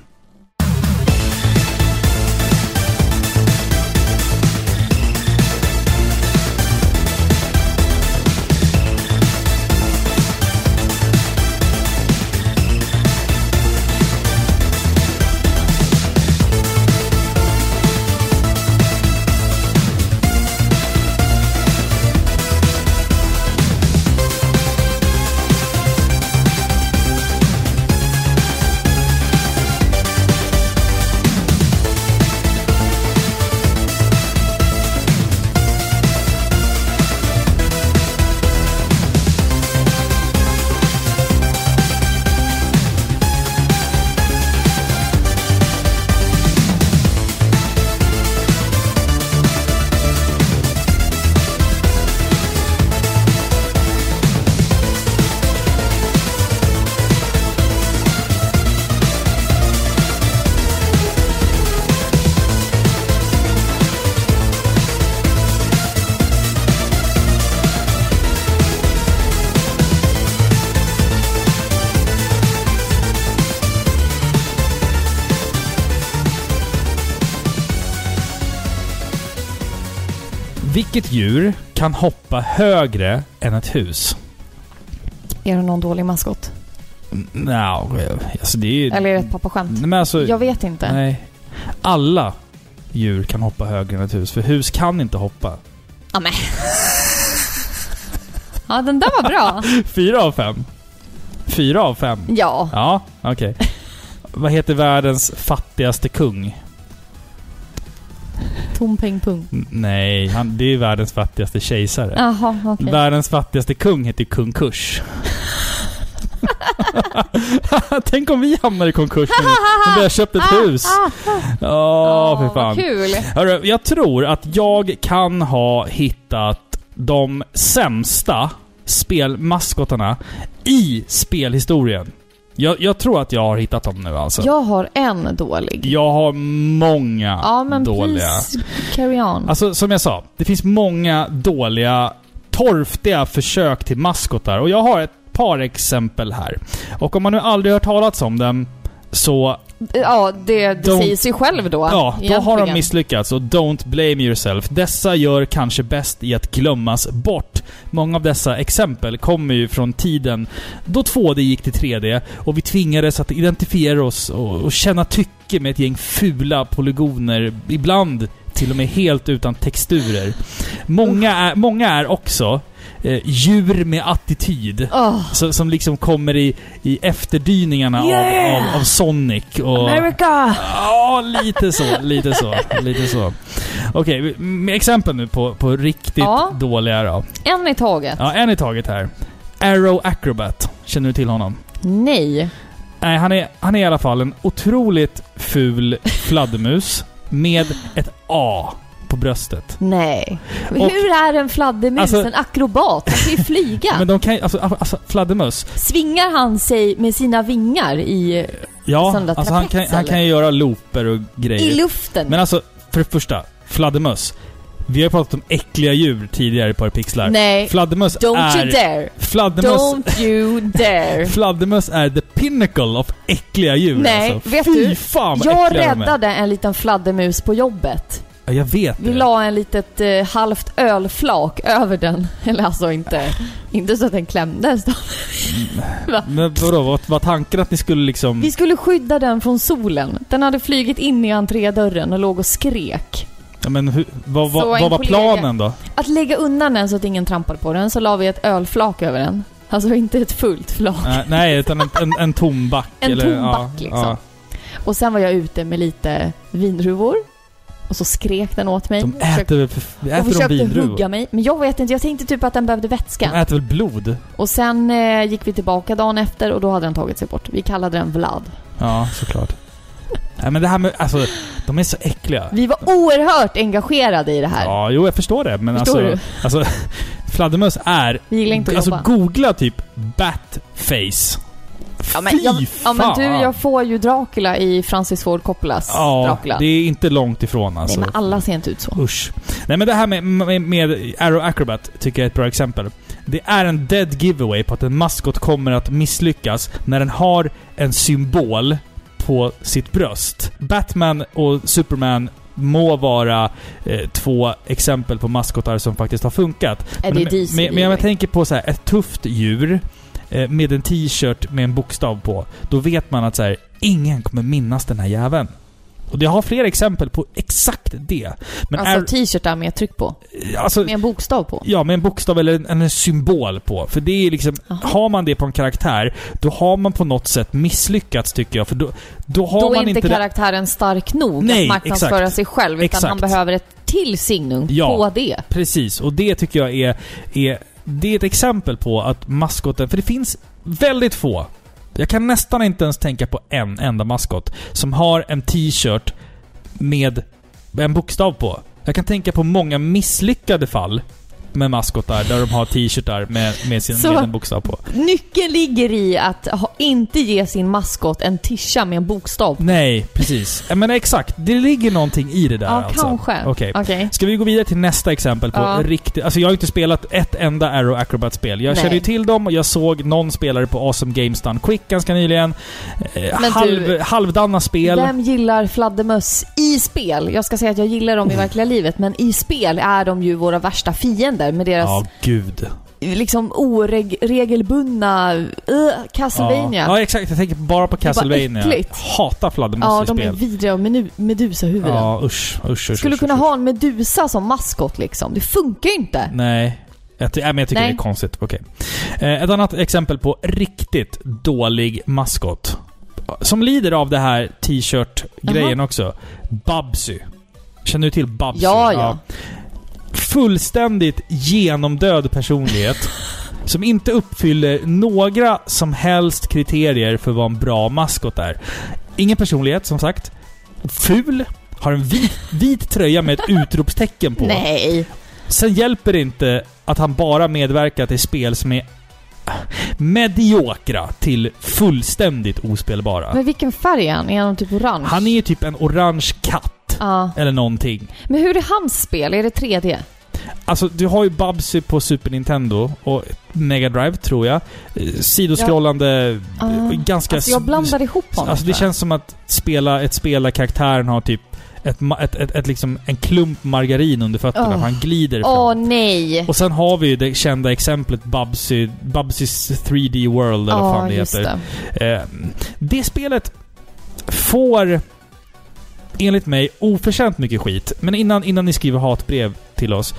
A: Vilket djur kan hoppa högre än ett hus?
B: Är det någon dålig maskot?
A: Nja, alltså det är ju...
B: Eller är det ett pappaskämt?
A: Nej, men alltså,
B: Jag vet inte.
A: Nej. Alla djur kan hoppa högre än ett hus, för hus kan inte hoppa.
B: Ja, men. ja, den där
A: (laughs)
B: var bra.
A: Fyra av fem. Fyra av fem.
B: Ja.
A: Ja,
B: (laughs)
A: okej. Vad heter världens fattigaste kung?
B: Tom peng pung.
A: N- Nej, han, det är världens fattigaste kejsare.
B: Jaha, okej. Ah,
A: Världens fattigaste kung heter ju kung
B: (laughs)
A: Kurs. Tänk om vi hamnar i konkurs nu,
B: ah,
A: när vi har köpt ett hus. Åh,
B: Åh,
A: för fan.
B: ah. vad kul.
A: Hörru, jag tror att jag kan ha hittat de sämsta spelmaskotarna i spelhistorien. Jag, jag tror att jag har hittat dem nu alltså.
B: Jag har en dålig.
A: Jag har många
B: ja, men
A: dåliga.
B: please carry on.
A: Alltså som jag sa, det finns många dåliga, torftiga försök till maskotar. Och jag har ett par exempel här. Och om man nu aldrig hört talats om dem, så
B: ja, det, det
A: Don't-
B: säger sig själv då.
A: Ja,
B: egentligen.
A: då har de misslyckats och don't blame yourself. Dessa gör kanske bäst i att glömmas bort. Många av dessa exempel kommer ju från tiden då 2D gick till 3D och vi tvingades att identifiera oss och, och känna tycke med ett gäng fula polygoner, ibland till och med helt utan texturer. Många är, många är också eh, djur med attityd.
B: Åh,
A: Så, som liksom kommer i, i efterdyningarna av,
B: Yeah!
A: av, av Sonic och...
B: America!
A: Ja, lite så. Lite så. lite så. Okej, med exempel nu på, på riktigt
B: Ja.
A: dåliga då.
B: En i taget.
A: Ja, en i taget här. Arrow Acrobat. Känner du till honom?
B: Nej.
A: Nej, han är, han är i alla fall en otroligt ful fladdermus med ett A på bröstet.
B: Nej. Men
A: Och-
B: Hur är en fladdermus
A: Alltså-
B: en akrobat? Han kan ju flyga.
A: (laughs) Men de kan ju- alltså, alltså fladdermus.
B: Svingar han sig med sina vingar i,
A: Ja,
B: Sån där
A: alltså han kan,
B: trapets,
A: han kan ju göra looper och
B: i
A: grejer.
B: luften?
A: Men alltså, för det första. Fladdermus. Vi har ju pratat om äckliga djur tidigare på Pixlar.
B: Nej.
A: Fladdermus
B: Don't
A: alltså, är...
B: you dare.
A: Fladdermöss
B: Don't
A: (laughs)
B: you dare.
A: Fladdermöss är the pinnacle of äckliga djur
B: Nej,
A: alltså.
B: vet
A: Fy
B: du?
A: fan vad
B: Jag
A: äckliga de är.
B: räddade en liten fladdermus på jobbet.
A: Ja, jag vet
B: Vi
A: det.
B: la en litet eh, halvt ölflak över den. (laughs) Eller alltså inte, inte så att den klämdes. Då.
A: Men vadå, var, var tanken att ni skulle liksom...
B: Vi skulle skydda den från solen. Den hade flugit in i entrédörren och låg och skrek.
A: Ja, men hur, vad,
B: Så
A: vad,
B: en
A: vad var
B: kollega-
A: planen
B: (laughs)
A: då?
B: Att lägga undan den så att ingen trampade på den så la vi ett ölflak över den. Alltså inte ett fullt flak.
A: Äh, nej, utan en, en, en tom back.
B: En
A: eller,
B: tom
A: ja,
B: back, liksom.
A: ja.
B: Och sen var jag ute med lite vindruvor. Och så skrek den åt mig.
A: De
B: Och försökte-
A: äter väl för,
B: och
A: äter de
B: försökte
A: vindruvor?
B: hugga mig. Men jag vet inte, jag tänkte typ att den behövde
A: De
B: vätska.
A: äter väl blod?
B: Och sen eh, gick vi tillbaka dagen efter och då hade den tagit sig bort. Vi kallade den Vlad.
A: Ja, såklart. Nej men det här med, alltså, de är så äckliga.
B: Vi var oerhört engagerade i det här.
A: Ja, jo jag förstår det, men
B: Förstår
A: alltså... Alltså, fladdermöss är...
B: Vi gillar inte att
A: alltså
B: jobba.
A: googla typ batface.
B: Ja, men, jag,
A: Fy
B: ja, men du,
A: fan.
B: jag får ju Dracula i Francis Ford Coppolas
A: Ja,
B: Dracula.
A: det är inte långt ifrån alltså.
B: Nej, men alla ser inte ut så.
A: Usch. Nej men det här med, med, med Arrow Acrobat tycker jag är ett bra exempel. Det är en dead giveaway på att en maskot kommer att misslyckas när den har en symbol på sitt bröst. Batman och Superman må vara eh, två exempel på maskotar som faktiskt har funkat.
B: Är det
A: men,
B: DC?
A: men, men jag tänker på så här, ett tufft djur eh, med en t-shirt med en bokstav på. Då vet man att så här, ingen kommer minnas den här jäveln. Och jag har flera exempel på exakt det. Men
B: alltså typ-
A: är,
B: t-shirtar med tryck på.
A: alltså,
B: Med en bokstav på.
A: Ja, med en bokstav eller en, en symbol på. För det är liksom,
B: Jaha.
A: har man det på en karaktär, då har man på något sätt misslyckats tycker jag. För då, då har
B: Då är
A: man
B: inte
A: inte... det-
B: karaktären stark nog
A: Nej,
B: att marknadsföra
A: exakt.
B: sig själv utan
A: Exakt.
B: han behöver ett till signum
A: Ja.
B: på det.
A: Precis, och det tycker jag är, är... Det är ett exempel på att maskoten... För det finns väldigt få. Jag kan nästan inte ens tänka på en enda maskot som har en t-shirt med en bokstav på. Jag kan tänka på många misslyckade fall med maskotar där de har t-shirtar med, med sin
B: Så-
A: med en bokstav på.
B: Nyckeln ligger i att ha, inte ge sin maskot en tischa med en bokstav.
A: Nej, precis. Ja, Men exakt, det ligger någonting i det där
B: Ja,
A: alltså.
B: kanske.
A: Okej.
B: Okej.
A: Ska vi gå vidare till nästa exempel på
B: Ja.
A: riktigt... Alltså jag har ju inte spelat ett enda Arrow Acrobat-spel. Jag
B: Nej.
A: känner ju till dem och jag såg någon spelare på Awesome Games Done Quick ganska nyligen. Eh,
B: Men
A: halv,
B: du-
A: halvdana spel.
B: Vem gillar fladdermöss i spel? Jag ska säga att jag gillar dem i
A: Mm.
B: verkliga livet, men i spel är de ju våra värsta fiender med deras
A: Ja, gud.
B: liksom oregelbundna uh, Castlevania.
A: Ja. ja, exakt. Jag tänker bara på
B: är bara
A: Castlevania.
B: äckligt.
A: Hatar fladdermöss
B: Ja,
A: i
B: de är
A: spel.
B: vidriga och menu- medusahuvuden.
A: Ja, usch, usch, usch.
B: Skulle
A: usch,
B: kunna
A: usch,
B: ha en medusa som maskot liksom. Det funkar ju inte.
A: Nej. Jag, ty- äh, men jag tycker
B: Nej.
A: det är konstigt. Okej. Eh, ett annat exempel på riktigt dålig maskot. Som lider av det här t-shirt-grejen också. Babsy. Känner du till Babsy?
B: Ja, ja.
A: Fullständigt genomdöd
B: (laughs)
A: personlighet. som inte uppfyller några som helst kriterier för vad en bra maskot är. Ingen personlighet, som sagt. Ful. Har en vit, vit tröja med ett utropstecken på.
B: Nej.
A: Sen hjälper det inte att han bara medverkat i spel som är äh, mediokra till fullständigt ospelbara.
B: Men vilken färg är han? Är han typ orange?
A: Han är ju typ en orange katt.
B: Ja.
A: Eller någonting.
B: Men hur är hans spel? Är det 3D?
A: Alltså, du har ju Bubsy på Super Nintendo och Mega Drive, tror jag. Eh, Sidoskrollande...
B: Ah.
A: eh, Ganska...
B: Alltså jag blandar ihop honom.
A: Alltså det
B: tror jag.
A: känns som att spela ett spel där karaktären har typ ett, ma- ett, ett, ett, liksom en klump margarin under fötterna,
B: Åh.
A: för han glider fram.
B: Åh nej!
A: Och sen har vi ju det kända exemplet Bubsy, Bubsys 3D World, eller vad fan det
B: just
A: heter. Det. Eh, det spelet får, enligt mig, oförtjänt mycket skit. Men innan, innan ni skriver hatbrev till oss.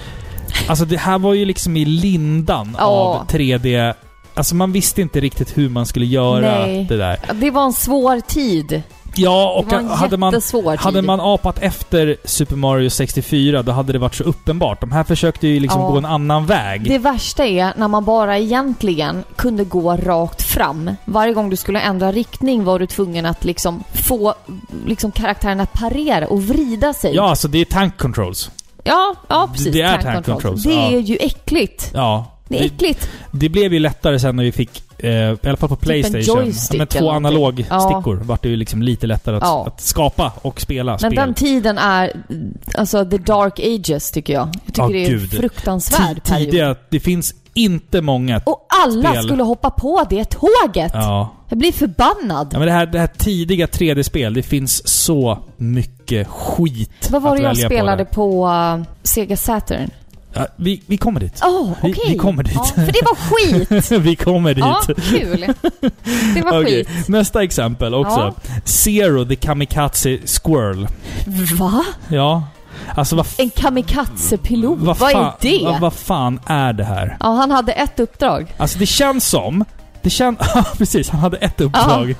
A: Alltså det här var ju liksom i lindan
B: Ja.
A: av 3D. Alltså man visste inte riktigt hur man skulle göra
B: Nej.
A: det där.
B: det. Det var en svår tid.
A: Ja,
B: Det
A: och
B: var en
A: hade man
B: jättesvår tid.
A: hade man apat efter Super Mario 64, då hade det varit så uppenbart. De här försökte ju liksom
B: Ja.
A: gå en annan väg.
B: Det värsta är när man bara egentligen kunde gå rakt fram. Varje gång du skulle ändra riktning var du tvungen att liksom få liksom karaktären att parera och vrida sig.
A: Ja, alltså det är tank controls.
B: ja, ja, precis.
A: Det är tank
B: Tank
A: controls,
B: Det
A: ja.
B: är ju äckligt.
A: Ja.
B: Det är äckligt.
A: det blev ju lättare sen när vi fick, eh, i alla fall på Playstation,
B: Typ joystick
A: med
B: eller
A: två
B: någonting.
A: analogstickor vart det ju liksom lite lättare att,
B: Ja.
A: att skapa och spela
B: Men
A: spel.
B: den tiden är, alltså the dark ages tycker jag. Jag tycker
A: Ja,
B: det är en
A: gud.
B: fruktansvärd
A: Ti-
B: period.
A: Tidiga, det finns inte många...
B: Och alla
A: spel.
B: skulle hoppa på det tåget!
A: Ja.
B: Jag blir förbannad.
A: ja, men det här, det här tidiga 3D-spel, det finns så mycket skit
B: Vad var
A: att
B: det jag
A: välja på
B: spelade
A: där.
B: på, eh, Sega Saturn?
A: Ja, vi, vi kommer dit.
B: Åh, oh, okej.
A: Vi- vi kommer dit.
B: Ja, för det var skit.
A: (laughs) vi kommer dit.
B: ja, kul. Det var
A: Okej,
B: skit.
A: Nästa exempel också. Zero the kamikaze squirrel.
B: Va?
A: Ja. Alltså vad
B: En kamikazepilot?
A: Vad
B: Oh, Vad,
A: fan-
B: är det?
A: Vad, vad fan är det här?
B: Ja, han hade ett uppdrag.
A: Alltså det känns som... Det kän, (laughs) Ja, precis, han hade ett uppdrag.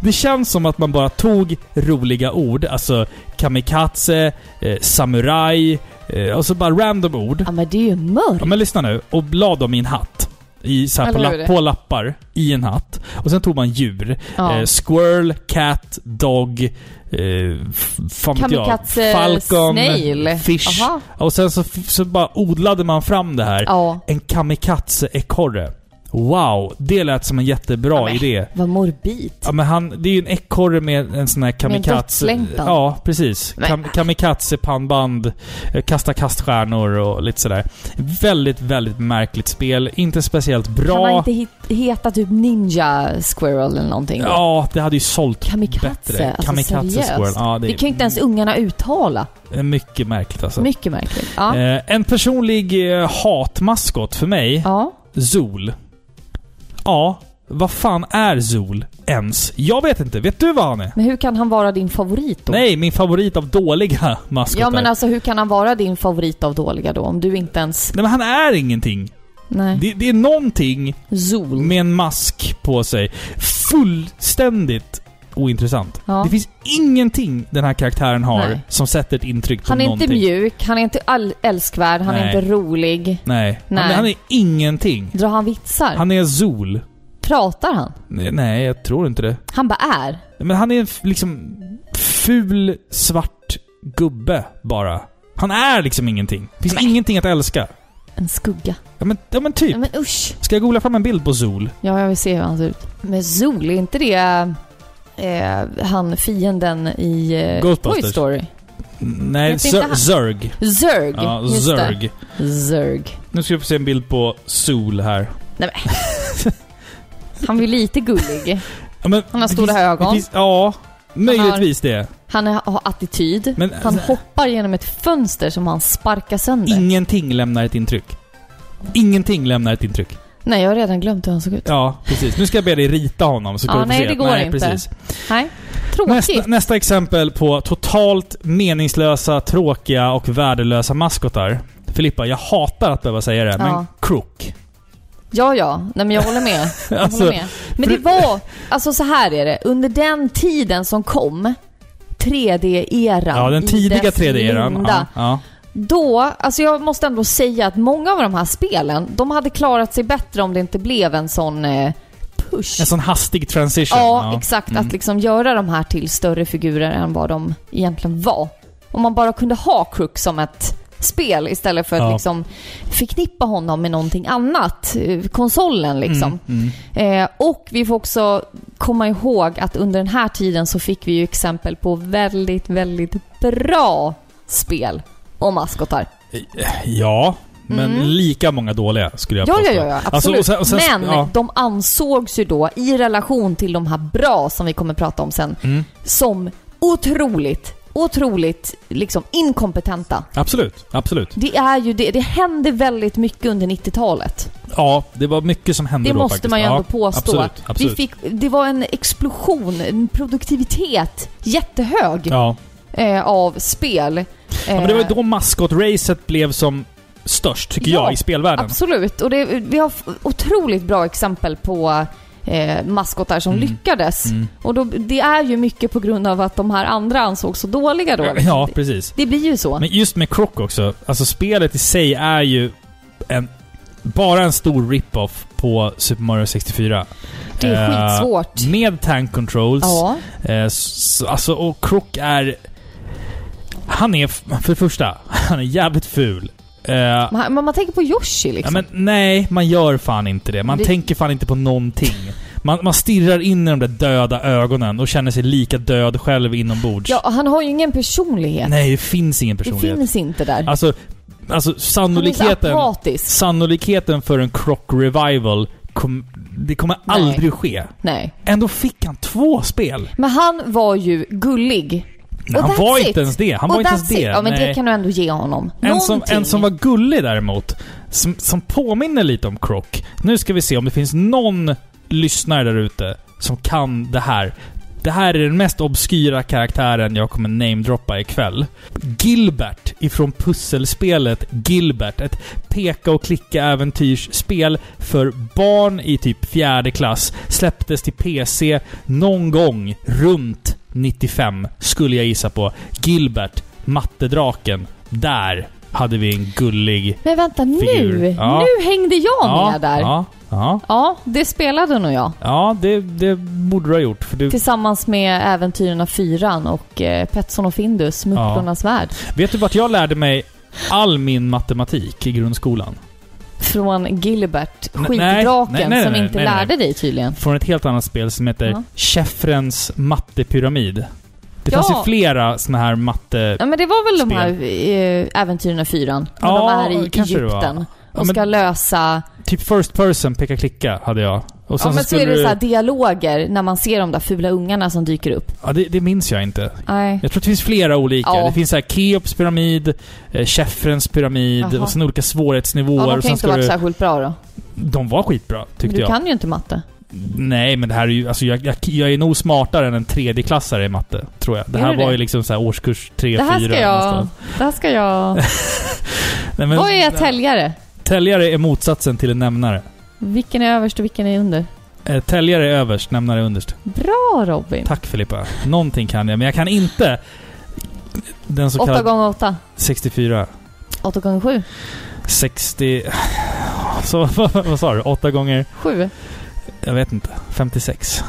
A: Det känns som att man bara tog roliga ord. Alltså kamikaze, eh, samurai, eh, alltså bara random ord.
B: Ja, men det är ju mörkt.
A: Ja, men lyssna nu. Och la dem i en hatt. I, så här, på,
B: Eller
A: lapp,
B: hur?
A: på lappar i en hatt. Och sen tog man djur.
B: Ja.
A: Eh, squirrel, cat, dog, eh, f- fan vet jag,
B: Kamikaze
A: falcon,
B: snail.
A: fish.
B: Aha.
A: Och sen så, f- så bara odlade man fram det här.
B: Ja.
A: En kamikaze-ekorre. Wow, det lät som en jättebra
B: Ja, men.
A: idé.
B: Vad morbid.
A: Ja, men han, det är ju en ekorre med en sån här kamikaze...
B: dödslängtan.
A: ja, precis.
B: Men-
A: Kam, kamikaze-pannband, eh, kasta kaststjärnor och lite sådär. Väldigt, väldigt märkligt spel. Inte speciellt
B: Kan
A: bra.
B: han inte hit- heta typ Ninja Squirrel eller någonting? då?
A: Ja, det hade ju sålt
B: Kamikaze,
A: bättre.
B: alltså
A: kamikaze
B: seriöst.
A: Squirrel. Ja, det
B: Det
A: är Mm.
B: kan ju inte ens ungarna uttala.
A: mycket märkligt alltså.
B: Mycket märkligt. Ja.
A: Eh, en personlig eh, hatmaskot för mig,
B: ja.
A: Zool. Ja, vad fan är Zool ens? Jag vet inte. Vet du vad han är?
B: Men hur kan han vara din favorit då?
A: Nej, min favorit av dåliga (laughs) maskotar.
B: Ja men alltså hur kan han vara din favorit av dåliga då? Om du inte ens...
A: Nej men han är ingenting.
B: Nej.
A: Det, det är någonting
B: Zool.
A: med en mask på sig. Fullständigt ointressant.
B: Ja.
A: Det finns ingenting den här karaktären har
B: Nej.
A: som sätter ett intryck på
B: Han är
A: någonting.
B: inte mjuk, han är inte all- älskvärd, han
A: Nej.
B: är inte rolig.
A: Nej. Han,
B: Nej.
A: han är ingenting.
B: Drar han vitsar?
A: Han är Zool.
B: Pratar han?
A: Nej, Nej, jag tror inte det.
B: Han bara är.
A: Men han är en f- liksom ful, svart gubbe bara. Han är liksom ingenting. Finns ingenting att älska.
B: En skugga.
A: Ja men, ja, men typ.
B: Ja, men usch!
A: Ska jag googla fram en bild på Zol?
B: Ja, jag vill se hur han ser ut. Men Zol, är inte det eh, han fienden i eh,
A: Ghostbusters.
B: Toy Story?
A: Mm, Nej,
B: Jag tänkte
A: Zer-
B: han-
A: Zerg.
B: Zerg!
A: Ja,
B: just
A: Zerg.
B: det. Zerg.
A: Nu ska vi få se en bild på Sol här.
B: Han är lite gullig.
A: Ja, men,
B: Han har
A: det
B: stora
A: finns-
B: ögon.
A: det finns- Ja, möjligtvis det.
B: Han är, har attityd.
A: Men
B: Han hoppar genom ett fönster som han sparkar
A: Mm.
B: sönder.
A: alltså, ingenting lämnar ett intryck. Ingenting lämnar ett intryck.
B: Nej, jag har redan glömt hur han såg ut.
A: Ja, precis. Nu ska jag be dig rita honom så
B: Ja,
A: kan du få
B: nej,
A: se.
B: det går inte.
A: Precis.
B: Nej, tråkigt.
A: Nästa, nästa exempel på totalt meningslösa, tråkiga och värdelösa maskotar. Filippa, jag hatar att behöva säga det, men
B: Ja.
A: Crook.
B: Ja, ja. Nej, men jag håller med. Jag
A: Alltså,
B: håller med. Men det
A: fru-
B: var... Alltså så här är det. Under den tiden som kom, 3D-eran.
A: Ja, den
B: i
A: tidiga
B: dess
A: 3D-eran.
B: linda,
A: Ja, ja.
B: Då, alltså jag måste ändå säga att många av de här spelen, de hade klarat sig bättre om det inte blev en sån eh, push.
A: En sån hastig transition.
B: ja, exakt.
A: Mm.
B: Att liksom göra de här till större figurer än vad de egentligen var. Om man bara kunde ha Crook som ett spel istället för att
A: Ja.
B: liksom förknippa honom med någonting annat. eh, Konsolen liksom.
A: Mm, mm.
B: Eh, och vi får också komma ihåg att under den här tiden så fick vi ju exempel på väldigt, väldigt bra spel och maskotar.
A: Ja, men lika många dåliga skulle jag
B: Mm. Ja, ja,
A: påstå.
B: ja, ja
A: Alltså,
B: absolut.
A: och sen- och sen-
B: Men
A: ja.
B: de ansågs ju då, i relation till de här bra som vi kommer prata om sen,
A: Mm.
B: som otroligt, otroligt liksom inkompetenta.
A: Absolut, absolut.
B: Det är ju det, det hände väldigt mycket under 90-talet.
A: Ja, det var mycket som hände
B: Det
A: då
B: måste
A: faktiskt.
B: man ju
A: ja,
B: ändå påstå.
A: Absolut, absolut.
B: Vi fick, det var en explosion, en produktivitet jättehög
A: ja.
B: eh, av spel. eh,
A: ja, men det var ju då maskotracet blev som störst, tycker
B: Ja,
A: jag, i spelvärlden.
B: Absolut, och det, vi har f- otroligt bra exempel på eh, maskotar som
A: Mm.
B: lyckades.
A: Mm.
B: Och då, det är ju mycket på grund av att de här andra ansågs så dåliga då.
A: Ja, precis.
B: Det blir ju så.
A: Men just med Croc också, alltså spelet i sig är ju en, bara en stor rip-off på Super Mario 64.
B: det är
A: eh,
B: skitsvårt.
A: Med tank controls.
B: Ja,
A: Eh, s- alltså, och Croc är... Han är, f- för det första, (laughs) han är jävligt ful. Eh,
B: man, man, man tänker på Yoshi
A: Ja,
B: liksom.
A: men, nej, man gör fan inte det. Man
B: Det-
A: tänker fan inte på någonting. Man, man stirrar in i de där döda ögonen och känner sig lika död själv inombords.
B: ja, han har ju ingen personlighet.
A: Nej, det finns ingen
B: det
A: personlighet.
B: finns inte där.
A: Alltså, alltså
B: Han är så
A: sannolikheten,
B: apatisk.
A: sannolikheten för en Croc Revival, kom, det kommer
B: Nej.
A: aldrig ske.
B: Nej.
A: Ändå fick han två spel.
B: Men han var ju gullig.
A: Men
B: Och
A: han var
B: that's it.
A: inte ens det. Han
B: Och
A: var inte ens
B: that's it.
A: det.
B: Ja, men
A: Nej.
B: det kan du ändå ge honom.
A: En som, en
B: Någonting.
A: som var gullig däremot, som, som påminner lite om Croc. Nu ska vi se om det finns någon lyssnare där ute som kan det här. Det här är den mest obskyra karaktären jag kommer namedroppa ikväll. Gilbert ifrån pusselspelet Gilbert. Ett peka och klicka äventyrsspel för barn i typ fjärde klass. Släpptes till PC någon gång runt 95, skulle jag gissa på. Gilbert, mattedraken. Där hade vi en gullig...
B: Men vänta, nu!
A: Figur. Ja.
B: Nu hängde jag med där. Ja.
A: ja, ja,
B: det spelade nog jag.
A: ja det, det borde du ha gjort. För du,
B: Tillsammans med Äventyrarna Fyran och eh, Petsson och Findus, Mupplornas värld.
A: vet du vart jag lärde mig all min matematik i grundskolan?
B: Från Gilbert,
A: nej,
B: skitdraken,
A: nej, nej,
B: som
A: nej,
B: inte
A: nej, nej.
B: lärde dig tydligen.
A: Från ett helt annat spel som heter
B: Ja.
A: Schäffrens mattepyramid. Det
B: Ja.
A: fanns ju flera såna här matte...
B: Ja, men det var väl
A: Spel.
B: de här eh, Äventyrarna Fyran? När
A: Ja,
B: de är i
A: kanske det var.
B: Egypten
A: Ja,
B: och
A: men-
B: ska lösa...
A: Typ First Person, peka klicka, hade jag. Och sen
B: Ja, men så
A: skulle
B: är det
A: du-
B: så här dialoger när man ser de där fula ungarna som dyker upp.
A: ja, det, det minns jag inte.
B: Nej.
A: Jag tror att det finns flera olika.
B: Ja.
A: Det finns så här Keops pyramid, eh, Schäffrens pyramid
B: Jaha.
A: och sen olika svårighetsnivåer.
B: Ja, de
A: och
B: kan
A: sen
B: inte
A: ska
B: ha varit
A: du...
B: särskilt bra då.
A: De var skitbra, tyckte
B: Du
A: jag.
B: kan ju inte matte.
A: Nej, men det här är ju... Alltså jag, jag, jag är nog smartare än en tredjeklassare i matte, tror jag. Det
B: Är
A: här
B: du
A: var
B: det?
A: ju liksom så här årskurs 3-4.
B: Det här ska jag... Det här ska jag...
A: Nej, men,
B: Vad är ett täljare?
A: Täljare är motsatsen till en nämnare.
B: Vilken är överst och vilken är under?
A: Eh, Täljare är överst, nämnare är underst.
B: Bra Robin!
A: Tack Filippa. Någonting kan jag, men jag kan inte den så
B: 8
A: kallade
B: gånger 8
A: 64.
B: 8 gånger 7
A: 60... (sighs) Så, (laughs) vad, vad sa du? 8 gånger...
B: 7
A: Jag vet inte. 56.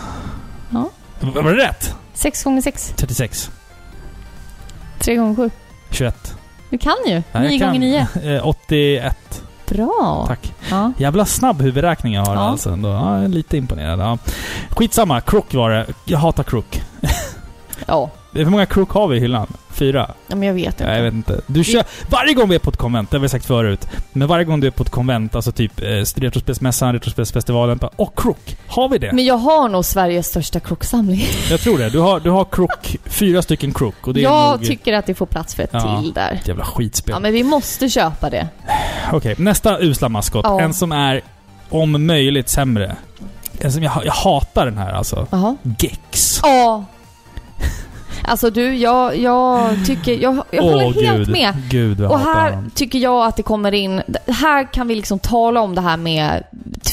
B: Ja.
A: Var var det rätt?
B: 6 gånger 6
A: 36.
B: 3 gånger 7
A: 21.
B: Du kan ju!
A: Ja, jag
B: 9
A: kan. (laughs)
B: gånger 9
A: Eh, 81.
B: Bra!
A: Tack.
B: Ja.
A: Jävla snabb huvudräkning jag har
B: Ja.
A: alltså. Ändå. Ja, jag är lite imponerad. Ja. Skitsamma, Crook var det. Jag hatar Crook.
B: ja,
A: Hur många Crook har vi i hyllan? Fyra?
B: Ja, men jag vet inte.
A: Ja, jag vet inte. Du kör, varje gång vi är på ett konvent, det har vi sagt förut, men varje gång du är på ett konvent, alltså typ eh, Retrospelsmässan, Retrospelsfestivalen, bara, åh Crook! Har vi det?
B: Men jag har nog Sveriges största kroksamling.
A: Jag tror det. Du har, du har Crook, fyra stycken Crook och det är
B: Jag
A: nog
B: tycker att det får plats för ett
A: Ja.
B: till där.
A: ett jävla skitspel.
B: Ja, men vi måste köpa det.
A: Okej, nästa usla maskot.
B: Ja.
A: En som är om möjligt sämre. En som jag, ha- jag hatar den här alltså.
B: Jaha.
A: Gex.
B: Ja. Alltså du, jag, jag tycker... Jag, jag håller helt
A: gud.
B: med.
A: Gud, jag
B: Och
A: hatar
B: här
A: honom.
B: tycker jag att det kommer in... d- Här kan vi liksom tala om det här med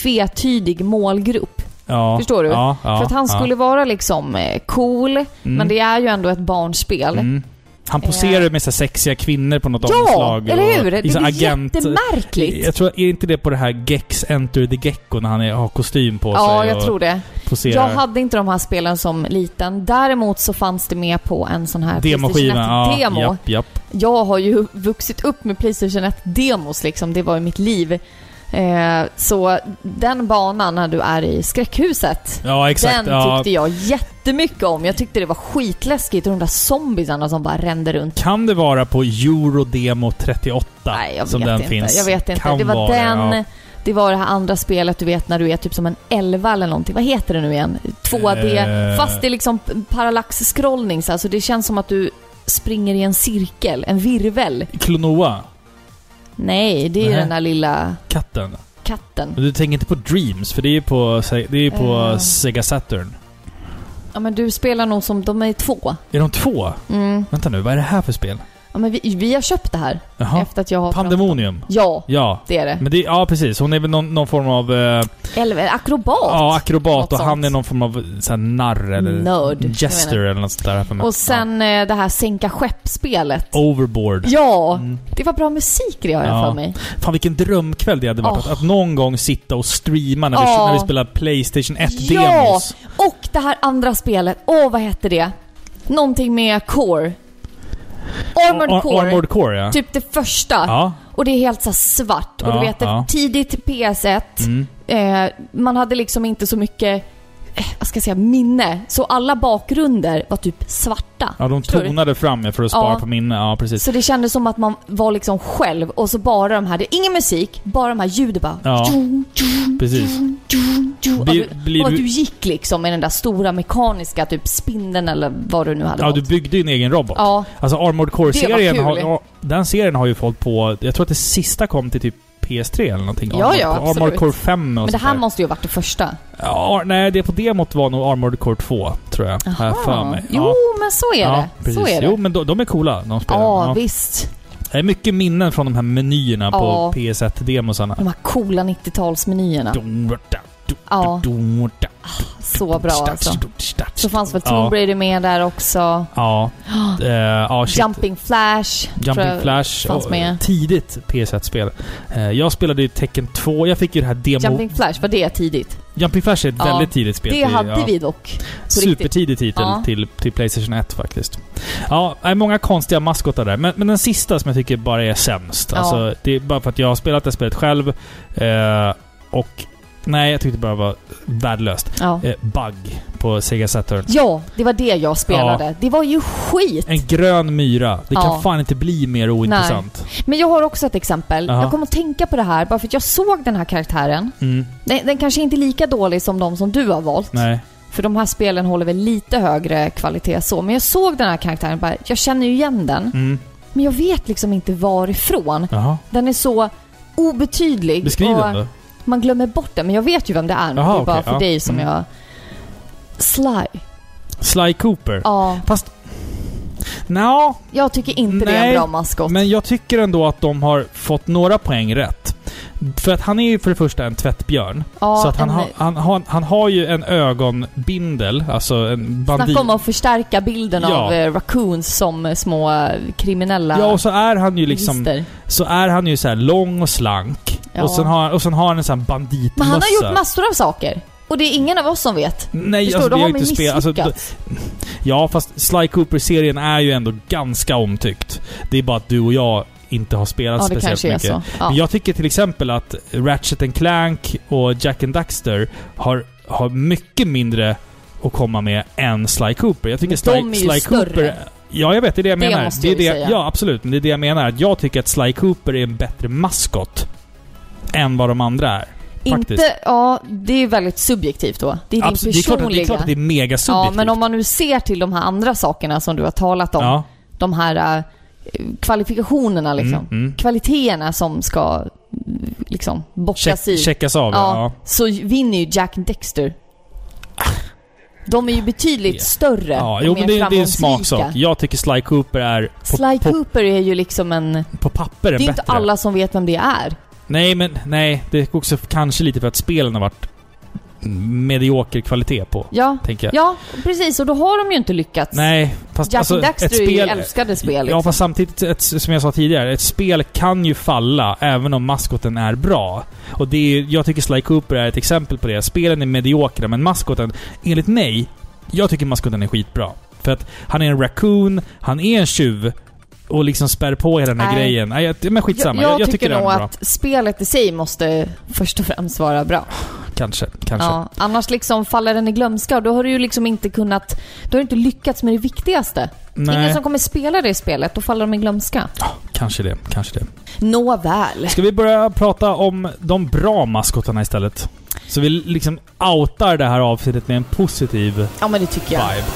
B: tvetydig målgrupp.
A: Ja,
B: förstår du?
A: Ja, ja,
B: För att han
A: ja.
B: skulle vara liksom eh, cool, men det är ju ändå ett barnspel.
A: Mm. Han poserar med så här sexiga kvinnor på något
B: Eh. Ja,
A: omslag.
B: eller hur?
A: och
B: Det
A: i så här
B: blir jättemärkligt.
A: Jag tror, är inte det på det här Gex Enter the Gecko när han är, har kostym på
B: Ja,
A: sig
B: jag
A: och
B: tror det.
A: poserar?
B: Jag hade inte de här spelen som liten. Däremot så fanns det med på en sån här
A: Demoskiva.
B: PlayStation 1 demo.
A: Ja, japp, japp.
B: Jag har ju vuxit upp med Playstation 1-demos liksom, det var ju mitt liv. Eh, så den banan när du är i skräckhuset,
A: Ja, exakt.
B: den
A: ja.
B: tyckte jag jättemycket om. Jag tyckte det var skitläskigt och de där zombiesarna som bara rände runt.
A: Kan det vara på Eurodemo 38
B: Nej, jag
A: som
B: vet
A: den
B: inte.
A: finns?
B: Jag vet inte.
A: Kan
B: det var
A: vara
B: den...
A: ja.
B: Det var det här andra spelet du vet när du är typ som en elva eller någonting. Vad heter det nu igen? 2D.
A: Eh.
B: Fast det är liksom parallax-scrollning så här, så det känns som att du springer i en cirkel, en virvel.
A: Klonoa,
B: Nej, det är ju
A: Nej.
B: den där lilla
A: katten.
B: katten.
A: Men du tänker inte på Dreams, för det är ju på, det är ju på
B: Eh.
A: Sega Saturn.
B: Ja men du spelar nog som, de är två.
A: Är de två?
B: Mm.
A: Vänta nu, vad är det här för spel?
B: Ja men vi, vi har köpt det här.
A: Jaha.
B: Efter att jag har...
A: Pandemonium.
B: Ja,
A: Ja.
B: det är det.
A: Men det, ja, precis. Hon är väl någon, någon form av... Eh,
B: Eller akrobat.
A: ja, akrobat
B: Något
A: och han
B: sånt.
A: är någon form av så här, narr eller...
B: Nörd, jag
A: Jester
B: menar.
A: eller något sånt där. här för mig.
B: Och sen eh, det här sänka skepp-spelet.
A: Ja. Overboard.
B: Ja, det var bra musik det har jag
A: Oh. Mm. Ja.
B: för mig.
A: Fan vilken drömkväll det hade varit.
B: Åh.
A: Att, att någon gång sitta och streama när,
B: Ja.
A: vi, när vi spelar Playstation 1-demos.
B: Ja! Och det här andra spelet, åh vad hette det? Någonting med Core. Armored
A: Ar-
B: Core.
A: Armored Core, ja.
B: Typ det första.
A: Ja.
B: Och det är helt så här svart. och
A: Ja,
B: du vet, det-
A: ja. Mm.
B: tidigt PS1. Eh, man hade liksom inte så mycket, eh, vad ska jag säga, minne. Så alla bakgrunder var typ svarta.
A: Ja, de
B: Förstår du?
A: tonade fram ja, för att spara
B: Ja.
A: på minne. Ja, precis.
B: Så det kändes som att man var liksom själv och så bara de här, det är ingen musik, bara de här ljuden bara...
A: Ja.
B: Tjong, tjong,
A: Precis.
B: tjong, tjong, tjong. Och
A: Blir-
B: du,
A: blir
B: och Alltså, att
A: du-
B: du gick liksom med den där stora mekaniska typ spindeln eller vad du nu hade
A: Ja,
B: valt.
A: du byggde din egen robot.
B: Ja,
A: Alltså Armored
B: Det
A: Core-serien
B: var
A: har,
B: kul.
A: ja, den serien har ju fått på... Jag tror att det sista kom till typ PS3 eller någonting.
B: Ja,
A: Armored
B: ja,
A: Core-
B: absolut.
A: Armored Core 5 och
B: men det
A: sånt
B: här
A: där.
B: måste ju ha varit det första.
A: Ja, nej, det på demot var nog Armored Core 2, tror jag. Har jag för mig.
B: Jo, men så är
A: ja,
B: det.
A: precis.
B: Så är det.
A: Jo, men de, de är coola, de spelen.
B: ja,
A: Ja.
B: visst.
A: Det är mycket minnen från de här menyerna
B: Ja.
A: på PS1-demosarna.
B: De här coola 90-talsmenyerna. Ja, så bra alltså. Så fanns väl Tomb
A: ja.
B: Raider med där också.
A: Ja. Eh, ja, shit.
B: (gasps) Jumping Flash. tror
A: Jumping
B: jag
A: Flash.
B: fanns
A: och,
B: med.
A: Tidigt PS1-spel. Eh, jag spelade ju Tekken 2. Jag fick ju det här demo... Jumping,
B: Jumping Flash, var det tidigt?
A: Flash är ett
B: Ja,
A: väldigt tidigt spel.
B: Det
A: till-
B: hade
A: ja.
B: vi dock. på riktigt.
A: Supertidig titel
B: Ja.
A: till, till Playstation 1 faktiskt. Ja, det är många konstiga maskotar där. Men, men den sista som jag tycker bara är sämst.
B: Ja.
A: Alltså, det är bara för att jag har spelat det spelet själv. Eh, och... Nej, jag tyckte det bara var värdelöst.
B: Ja.
A: Eh, bug på Sega Saturn.
B: ja, det var det jag spelade. Det var ju skit!
A: En grön myra. Det
B: Ja.
A: kan fan inte bli mer ointressant.
B: Men jag har också ett exempel.
A: Jaha.
B: Jag kom att tänka på det här bara för att jag såg den här karaktären.
A: Mm,
B: Den, den kanske inte är lika dålig som de som du har valt.
A: nej.
B: För de här spelen håller väl lite högre kvalitet så. Men jag såg den här karaktären och bara, jag känner ju igen den.
A: Mm,
B: Men jag vet liksom inte varifrån.
A: jaha.
B: Den är så obetydlig.
A: Beskriv
B: och
A: den då.
B: Man glömmer bort den. Men jag vet ju vem det är. men
A: Jaha,
B: det är bara
A: okej,
B: för
A: ja.
B: dig som
A: Mm.
B: jag... Sly.
A: Sly Cooper?
B: Ja,
A: Fast... Nja,
B: jag tycker inte det är en
A: Nej,
B: bra maskot.
A: men jag tycker ändå att de har fått några poäng rätt. För att han är ju för det första en tvättbjörn.
B: ja,
A: så att han,
B: en-
A: har- han, han, han har ju en ögonbindel, alltså en bandit.
B: Snacka om att förstärka bilden
A: Ja.
B: av eh, raccoons som eh, små eh, kriminella
A: Ja, och så är han ju liksom...
B: lister.
A: Så är han ju så här lång och slank.
B: Ja.
A: Och, sen har, och sen har han en sån här banditmössa.
B: Men han har gjort massor av saker. Och det är ingen av oss som vet.
A: Nej,
B: Förstår
A: alltså,
B: du?
A: vi
B: Då
A: har
B: har
A: ju
B: man
A: inte spelat... Alltså, d-
B: misslyckats.
A: ja, fast Sly Cooper-serien är ju ändå ganska omtyckt. Det är bara att du och jag inte har spelat
B: Ja, det
A: alltså, speciellt
B: kanske är
A: mycket.
B: så. Ja.
A: Men jag tycker till exempel att Ratchet and Clank och Jack and Daxter har, har mycket mindre att komma med än Sly Cooper. Jag tycker
B: Men de
A: Sly,
B: är ju
A: Sly Cooper...
B: större.
A: Ja, jag vet. Det är det jag
B: Det
A: menar.
B: måste
A: är
B: jag ju
A: det,
B: säga.
A: Ja, absolut. Men det är det jag menar. Att jag tycker att Sly Cooper är en bättre maskot än vad de andra är. Faktiskt.
B: Inte, ja, det är väldigt subjektivt då. Det är din
A: Absolut. Det är klart att det är,
B: personliga.
A: klart att det är mega
B: ja,
A: subjektivt.
B: men om man nu ser till de här andra sakerna som du har talat om.
A: Ja.
B: De här eh, kvalifikationerna liksom.
A: Mm, mm.
B: Kvaliteterna som ska mm, liksom bockas i.
A: Check, checkas av, ja.
B: ja, så vinner ju Jack Dexter. De är ju betydligt
A: Ja.
B: större
A: Ja,
B: och
A: jo,
B: mer
A: men det, är- det är en
B: framgångsrika.
A: smaksak. Jag tycker Sly Cooper är på,
B: Sly
A: på,
B: Cooper är ju liksom en...
A: på papper
B: Det
A: en
B: är
A: bättre.
B: inte alla som vet vem det är.
A: Nej, men nej. Det är också kanske lite för att spelen har varit medioker kvalitet på,
B: Ja,
A: tänker jag.
B: ja precis. Och då har de ju inte lyckats.
A: Nej, fast
B: Jack
A: alltså,
B: Daxter
A: ett
B: är ju
A: spel...
B: älskade spel.
A: Ja,
B: Liksom.
A: fast samtidigt, ett, som jag sa tidigare, ett spel kan ju falla även om maskoten är bra. Och det är, ju- jag tycker Sly Cooper är ett exempel på det. Spelen är mediokra, men maskoten, enligt mig, jag tycker maskoten är skitbra. För att han är en raccoon, han är en tjuv och liksom spär på hela den här
B: Nej.
A: grejen. Nej, jag- men skitsamma. Jag, jag, tycker,
B: nog
A: den är bra.
B: att spelet i sig måste först och främst vara bra.
A: Kanske, kanske.
B: Ja, annars liksom faller den i glömska och då har du ju liksom inte kunnat... Då har du inte lyckats med det viktigaste.
A: Nej.
B: Ingen som kommer spela det spelet, då faller de i glömska.
A: Kanske det, kanske det.
B: Nåväl.
A: Ska vi börja prata om de bra maskotarna istället? Så vi liksom outar det här avsnittet med en positiv
B: Ja, men det tycker jag.
A: vibe.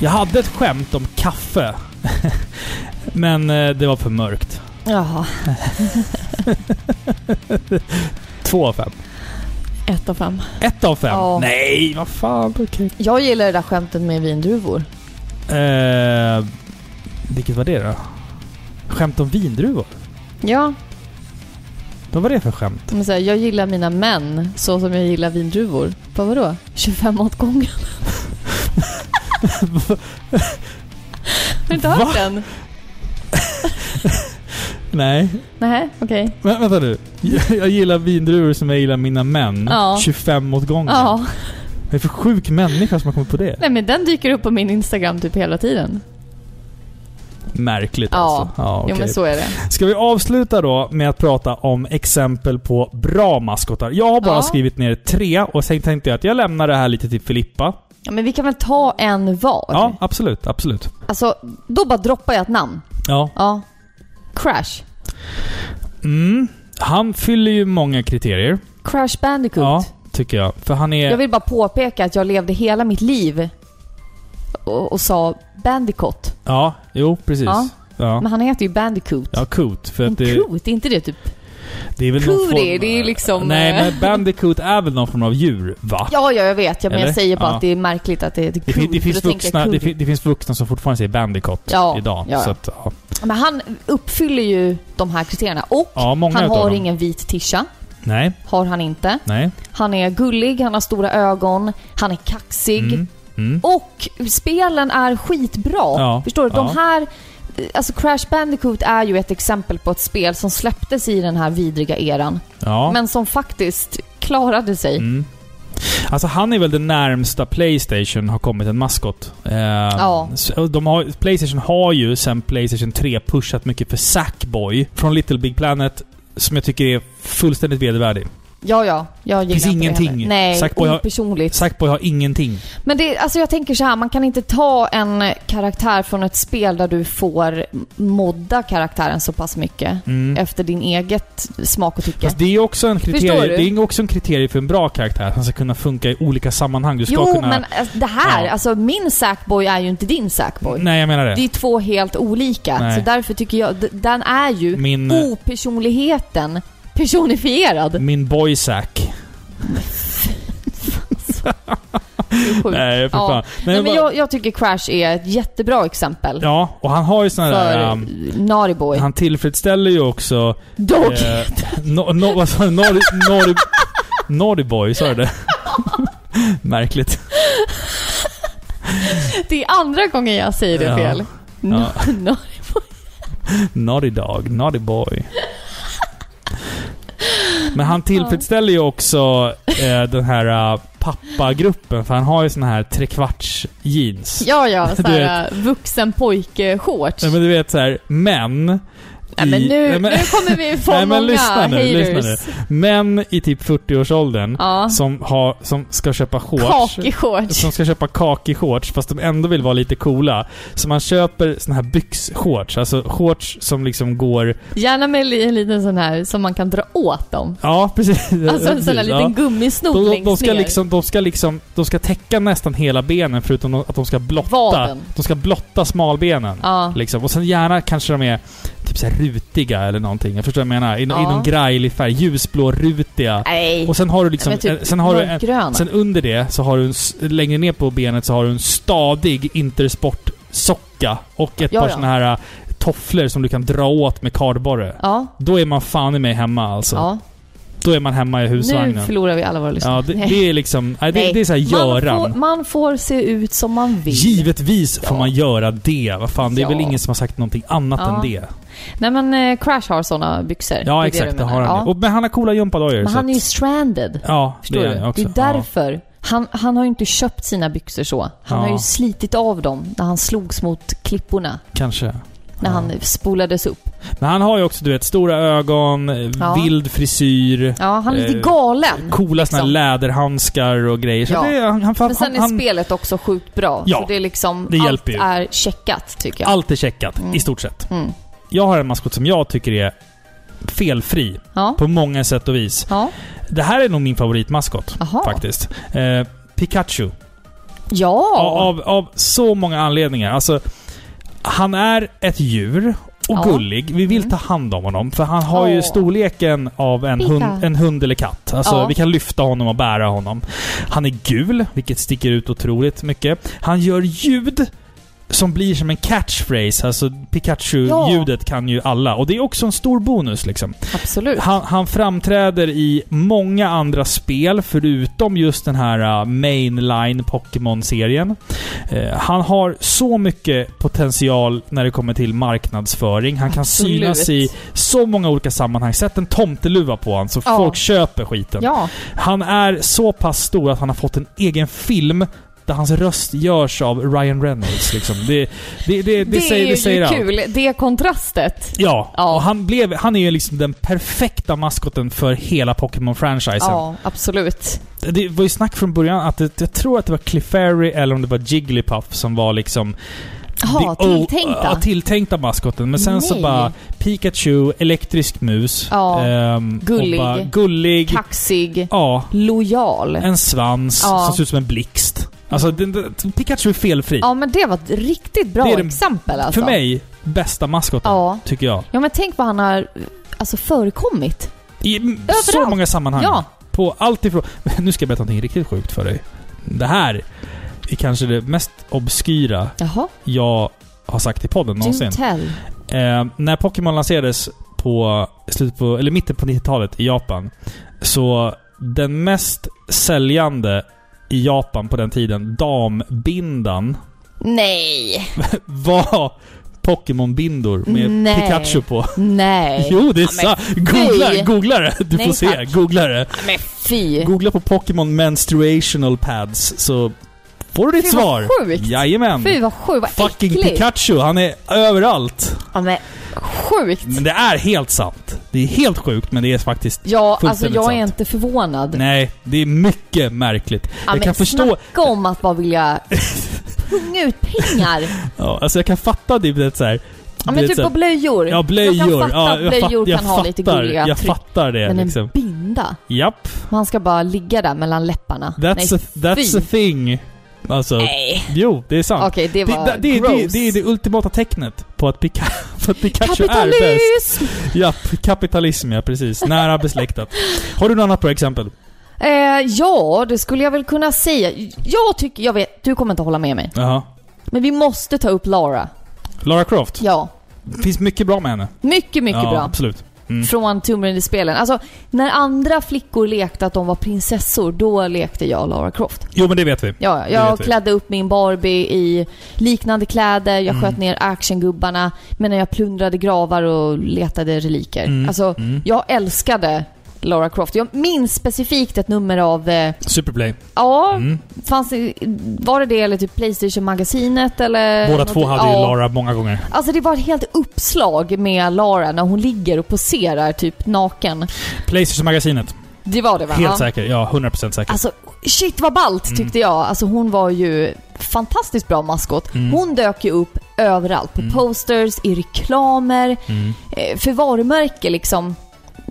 A: Jag hade ett skämt om kaffe. (laughs) Men eh, det var för mörkt.
B: Jaha,
A: Två av fem.
B: ett av fem.
A: Ett av fem?
B: Ja.
A: Nej, vad fan. Okej.
B: Jag gillar det där skämtet med vindruvor.
A: Eh, vilket var det då? Skämt om vindruvor?
B: Ja,
A: Vad var det för skämt?
B: men så här, jag gillar mina män så som jag gillar vindruvor. Vad vadå? 25 åt gången? Har du inte hört
A: Va?
B: den?
A: Nej.
B: Nej, okej.
A: Vä- vänta nu. (laughs) Jag, jag gillar vindruvor som jag gillar mina män.
B: Ja.
A: 25 åt gången.
B: Ja.
A: Vad är det för sjuk människa som har kommit på det?
B: Nej men den dyker upp på min Instagram typ hela tiden.
A: Märkligt
B: Ja.
A: alltså. Ja,
B: Jo
A: okej.
B: men så är det.
A: Ska vi avsluta då med att prata om exempel på bra maskotar? Jag har bara
B: Ja.
A: skrivit ner tre och sen tänkte jag att jag lämnar det här lite till Filippa.
B: Ja, men vi kan väl ta en var?
A: Ja, absolut. Absolut.
B: Alltså, då bara droppar jag ett namn.
A: Ja.
B: Ja. Crash.
A: Mm. Han fyller ju många kriterier.
B: Crash Bandicoot.
A: Ja, tycker jag. För han är...
B: Jag vill bara påpeka att jag levde hela mitt liv och, och sa Bandicoot.
A: Ja, jo precis.
B: Ja.
A: Ja. Ja.
B: Men han heter ju Bandicoot.
A: Coot. För
B: Men
A: att det,
B: Coot, är inte det typ...
A: det är väl någon
B: Coot
A: form...
B: är- det är ju liksom,
A: Nej,
B: eh,
A: men Bandicoot är väl någon form av djur, va?
B: Ja, ja, jag vet. Ja, men jag
A: Eller?
B: säger bara
A: Ja.
B: att det är märkligt att det heter
A: Det,
B: Coot.
A: fin, det,
B: Då
A: finns
B: tänker jag
A: vuxna, det,
B: Coot.
A: fin, det finns vuxna som fortfarande säger Bandicoot
B: Ja,
A: idag.
B: ja, ja.
A: Så att, ja.
B: Men han uppfyller ju de här kriterierna. Och
A: ja, många
B: han
A: utav
B: har
A: dem.
B: ingen vit tisha.
A: Nej,
B: Har han inte.
A: nej.
B: Han är gullig, han har stora ögon, han är kaxig.
A: Mm, mm.
B: Och spelen är skitbra.
A: Ja,
B: Förstår du? De
A: ja.
B: här... Alltså Crash Bandicoot är ju ett exempel på ett spel som släpptes i den här vidriga eran.
A: Ja.
B: Men som faktiskt klarade sig.
A: Mm. Alltså han är väl det närmsta Playstation har kommit en maskot. Eh,
B: Ja.
A: så de har, Playstation har ju sen Playstation 3 pushat mycket för Sackboy från Little Big Planet som jag tycker är fullständigt vedervärdig.
B: Ja, ja. Jag gillar
A: Finns
B: inte det
A: ingenting.
B: heller. Nej,
A: Sackboy har-
B: opersonligt.
A: Sackboy har ingenting.
B: Men det, alltså jag tänker så här, man kan inte ta en karaktär från ett spel där du får modda karaktären så pass mycket efter din eget smak och tycke.
A: Mm. Fast det är också en
B: Förstår
A: kriterie,
B: du?
A: det är också en kriterie för en bra karaktär. Att han ska kunna funka i olika sammanhang. Du ska
B: Jo,
A: kunna...
B: men alltså, det här,
A: Ja.
B: alltså min Sackboy är ju inte din Sackboy.
A: Nej, jag menar det.
B: Det är två helt olika.
A: Nej.
B: Så därför tycker jag, d- den är ju
A: Min-
B: opersonligheten personifierad.
A: Min boy Sack.
B: Sjukt.
A: Nej, för
B: Ja.
A: fan.
B: Nej, men
A: bara-
B: jag, jag tycker Crash är ett jättebra exempel.
A: Ja, och han har ju såna
B: för
A: där... um,
B: Naughty Boy.
A: han tillfredsställer ju också...
B: Dog!
A: Eh, no, no, vad sa du? Naughty, naughty, naughty Boy, sa du det? (laughs) Märkligt.
B: Det är andra gången jag säger det
A: Ja.
B: fel. No,
A: Ja.
B: no.
A: Naughty Dog, Naughty Boy. Men han tillfredsställer ju också eh, den här uh, pappagruppen, för han har ju såna här trekvarts jeans.
B: (laughs) Ja, ja.
A: (laughs) Du
B: Såhär, vuxen pojke-shorts.
A: Nej, men
B: Nej,
A: du vet så här, män...
B: men
A: i-
B: nu,
A: nej, men-
B: nu
A: (laughs)
B: kommer vi få
A: Nej, men
B: många
A: lyssna nu,
B: haters.
A: lyssna nu. Män i typ 40-årsåldern
B: Ja.
A: som, har, som ska köpa shorts.
B: Kakeshorts.
A: Som ska köpa kakishorts fast de ändå vill vara lite coola. Så man köper såna här byxshorts. Alltså shorts som liksom går...
B: Gärna med li- en liten sån här som man kan dra åt dem.
A: Ja, (laughs) precis.
B: Alltså en sån
A: Precis,
B: där
A: ja.
B: liten gummisnodd
A: de, de,
B: längst
A: de ska
B: ner.
A: liksom, de ska liksom, de ska täcka nästan hela benen förutom att de ska blotta.
B: Vaden.
A: De ska blotta smalbenen.
B: Ja.
A: Liksom. Och sen gärna kanske de är typ så här rutiga eller någonting. Jag förstår vad jag menar. I,
B: Ja.
A: I någon grejlig färg. Ljusblå, rutiga.
B: Nej.
A: Och sen har du liksom...
B: men typ
A: en- sen har du en,
B: mörkgröna.
A: Sen under det så har du en, s- längre ner på benet så har du en stadig Intersport-socka och ett
B: Ja,
A: par
B: ja.
A: såna här äh, tofflor som du kan dra åt med kardborre.
B: Ja.
A: Då är man fan i mig hemma alltså.
B: ja.
A: Då är man hemma i
B: Nu
A: husvagnen.
B: förlorar vi alla våra lyssnare.
A: ja, det,
B: Nej.
A: det är liksom... Nej, det,
B: Nej.
A: det är såhär Göran.
B: Man får, man får se ut som man vill.
A: Givetvis får
B: Ja.
A: man göra det. Vad fan, det är
B: Ja.
A: väl ingen som har sagt någonting annat
B: Ja.
A: än det.
B: Nej men eh, Crash har såna byxor. Det är
A: Ja,
B: det
A: exakt.
B: du
A: Det
B: menar.
A: har han
B: Ja.
A: ju. Och, Men han har coola gympadojor.
B: Men
A: så
B: han är ju
A: att-
B: stranded.
A: Ja,
B: Förstår
A: det är
B: du?
A: han ju också.
B: Det är därför. Han, han har ju inte köpt sina byxor så. Han
A: Ja.
B: har ju slitit av dem när han slogs mot klipporna.
A: Ja, kanske.
B: När han spolades upp.
A: Men han har ju också, du vet, stora ögon,
B: Ja.
A: vild frisyr.
B: Ja, han är lite
A: Eh,
B: galen.
A: Coola såna här
B: liksom.
A: läderhandskar och grejer. Så
B: Ja.
A: det, han, han,
B: Men sen
A: han,
B: är
A: han,
B: spelet också sjukt bra.
A: Ja,
B: så det är liksom,
A: det
B: allt
A: hjälper ju.
B: är checkat tycker jag.
A: allt är checkat, i stort sett.
B: Mm.
A: Jag har en maskot som jag tycker är felfri
B: Ja.
A: på många sätt och vis.
B: Ja.
A: Det här är nog min favoritmaskot,
B: Aha.
A: faktiskt. Eh, Pikachu.
B: Ja.
A: Av, av, av så många anledningar. Alltså, han är ett djur och
B: Ja. Mm.
A: gullig. Vi vill ta hand om honom, för han har ju
B: Åh.
A: storleken av en
B: Pika.
A: hund, en hund eller katt. Alltså,
B: Ja.
A: vi kan lyfta honom och bära honom. Han är gul, vilket sticker ut otroligt mycket. Han gör ljud som blir som en catchphrase. Alltså, Pikachu-ljudet kan ju alla. Och det är också en stor bonus liksom.
B: Absolut.
A: Han, han framträder i många andra spel förutom just den här uh, mainline Pokémon-serien. Eh, han har så mycket potential när det kommer till marknadsföring. Han kan
B: Absolut.
A: synas i så många olika sammanhang. Sätt en tomteluva på honom så
B: Ja.
A: folk köper skiten.
B: Ja.
A: Han är så pass stor att han har fått en egen film där hans röst görs av Ryan Reynolds. Liksom. Det, det, det, det,
B: Det,
A: säger,
B: är
A: det säger
B: ju
A: allt.
B: kul. Det kontrastet.
A: Ja,
B: Ja.
A: och han, blev, han är ju liksom den perfekta maskoten för hela Pokémon-franchisen.
B: Ja, absolut.
A: Det var ju snack från början att det, jag tror att det var Clefairy eller om det var Jigglypuff som var liksom...
B: Ja,
A: the- oh,
B: tilltänkta.
A: Ja, tilltänkta maskoten. Men sen så
B: Nej.
A: bara Pikachu, elektrisk mus.
B: Ja.
A: ehm, och
B: Gullig.
A: Bara, gullig.
B: Kaxig.
A: ja,
B: Lojal.
A: en svans
B: Ja.
A: som ser ut som en blixt. Alltså, den, den, Pikachu är felfri.
B: Ja, men det var ett riktigt bra
A: Det är det-
B: exempel alltså.
A: För mig, bästa maskoten.
B: Ja.
A: Tycker jag.
B: Ja, men tänk vad han har alltså, förekommit.
A: I så
B: Överallt.
A: många sammanhang.
B: Ja.
A: På allt ifrån... (laughs) Nu ska jag berätta någonting riktigt sjukt för dig. Det här är kanske det mest obskyra
B: Jaha.
A: jag har sagt i podden någonsin.
B: Do tell.
A: Eh, när Pokémon lanserades på, slutet på, eller mitten på 90-talet i Japan, så den mest säljande i Japan på den tiden, dambindan, (laughs)
B: Nej.
A: var Pokémon-bindor med
B: Nej.
A: Pikachu på.
B: Nej.
A: Jo, det är
B: Ja,
A: sant. Googla,
B: fy.
A: googla det. Du
B: Nej,
A: får se.
B: tack.
A: Googla det.
B: Men fy.
A: Googla på Pokémon menstruational pads så Får du ditt
B: Fy, vad
A: svar?
B: sjukt.
A: Jajamän.
B: Fy vad sjukt, vad
A: Fucking
B: äckligt.
A: Pikachu, han är överallt.
B: Ja, men sjukt.
A: Men det är helt sant. Det är helt sjukt, men det är faktiskt...
B: Ja, alltså
A: Fullständigt
B: jag är
A: sant.
B: inte förvånad.
A: Nej, det är mycket märkligt.
B: ja,
A: jag
B: men
A: kan förstå...
B: Snacka om att bara vilja punga ut pengar.
A: Ja, alltså jag kan fatta typ det så här...
B: Ja,
A: du
B: men
A: vet,
B: typ
A: så
B: på
A: här-
B: blöjor.
A: Ja, blöjor.
B: Jag kan fatta
A: ja,
B: att blöjor
A: fatt- jag
B: kan ha lite
A: fattar-
B: gulliga
A: Jag
B: tryck.
A: fattar det
B: Men
A: liksom.
B: en binda?
A: Japp.
B: Man ska bara ligga där mellan läpparna.
A: That's,
B: Nej,
A: a, that's
B: fy.
A: a thing. Alltså,
B: Nej.
A: jo, det är sant.
B: Okej, det var
A: det, det, det,
B: gross.
A: det är det ultimata tecknet på att, Pika, (laughs) på att Pikachu är bäst.
B: Kapitalism!
A: Japp, kapitalism ja, precis. Nära besläktat. Har du något annat bra exempel?
B: Eh, ja, det skulle jag väl kunna säga. Jag tycker, jag vet, du kommer inte hålla med mig.
A: Jaha.
B: Men vi måste ta upp Lara.
A: Lara Croft.
B: Ja.
A: Finns mycket bra med henne.
B: Mycket, mycket
A: ja,
B: bra.
A: absolut. Mm.
B: Från Tomb Raider-spelen. Alltså, när andra flickor lekte att de var prinsessor, då lekte jag Lara Croft.
A: Jo, men det vet vi.
B: Ja, ja,
A: Det
B: jag
A: vet vi.
B: klädde upp min Barbie i liknande kläder,
A: Mm.
B: jag sköt ner actiongubbarna, men jag plundrade gravar och letade reliker.
A: Mm.
B: Alltså, jag älskade Lara Croft. Jag minns specifikt ett nummer av eh,
A: Superplay.
B: Ja,
A: Mm.
B: fanns det, var det det eller typ Playstation-magasinet eller...
A: Båda
B: något-
A: två hade ju
B: Eh, ja.
A: Lara många gånger.
B: Alltså det var ett helt uppslag med Lara när hon ligger och poserar typ naken.
A: Playstation-magasinet.
B: Det var det va?
A: Helt Mm.
B: Ja.
A: säker. Ja, 100% säker.
B: Alltså shit vad ballt tyckte jag. Alltså hon var ju fantastiskt bra maskot.
A: Mm.
B: Hon dök ju upp överallt. På posters, i reklamer,
A: Mm.
B: eh, för varumärke liksom.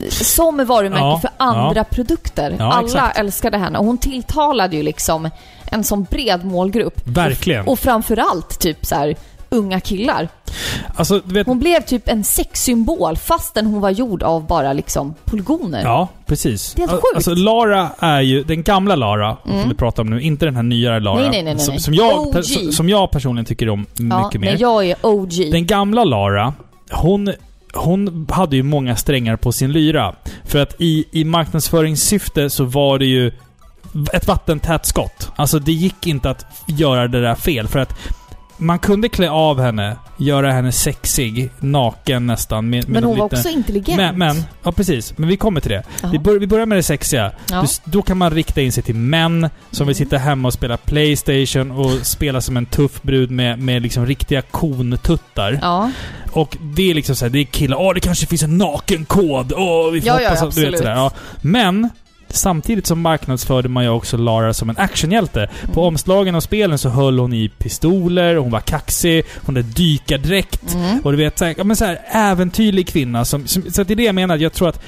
B: Som varumärke
A: Ja,
B: för
A: ja.
B: andra produkter.
A: Ja,
B: Alla
A: exakt.
B: älskade henne och hon tilltalade ju liksom en sån bred målgrupp.
A: Verkligen.
B: Och framförallt typ så här unga killar.
A: Alltså, du vet...
B: Hon blev typ en sexsymbol fastän hon var gjord av bara liksom polygoner.
A: Ja, precis.
B: Det är helt
A: Al-
B: sjukt. Mm.
A: Alltså Lara är ju den gamla Lara, som vi pratar om nu, inte den här nyare Lara.
B: Nej, nej, nej, nej,
A: Som,
B: nej.
A: som, jag,
B: OG.
A: per, som- som jag personligen tycker om mycket
B: Ja,
A: mer.
B: Nej, jag är OG.
A: Den gamla Lara, hon, hon hade ju många strängar på sin lyra. För att i, i marknadsföringssyfte så var det ju ett vattentätt skott. Alltså det gick inte att göra det där fel. För att man kunde klä av henne, göra henne sexig, naken nästan. Med, med
B: Men hon
A: en
B: var
A: liten-
B: också intelligent.
A: men, men, ja precis. Men vi kommer till det.
B: Jaha.
A: Vi, bör, vi börjar med det sexiga.
B: Ja.
A: Du, då kan man rikta in sig till män som vill
B: Mm.
A: sitta hemma och spela Playstation och spela som en tuff brud med, med liksom riktiga kontuttar.
B: Ja,
A: Och det är liksom såhär, det är killar. Åh, det kanske finns en nakenkod! Åh, vi får
B: Ja, ja,
A: hoppas att... Du vet,
B: absolut.
A: sådär, ja. Men, samtidigt så marknadsförde man ju också Lara som en actionhjälte.
B: Mm.
A: På omslagen av spelen så höll hon i pistoler, hon var kaxig, hon hade
B: Mm.
A: dykardräkt. Och du vet, såhär, ja, men såhär, äventyrlig kvinna. Som, som, så att det är det jag menar. Jag tror att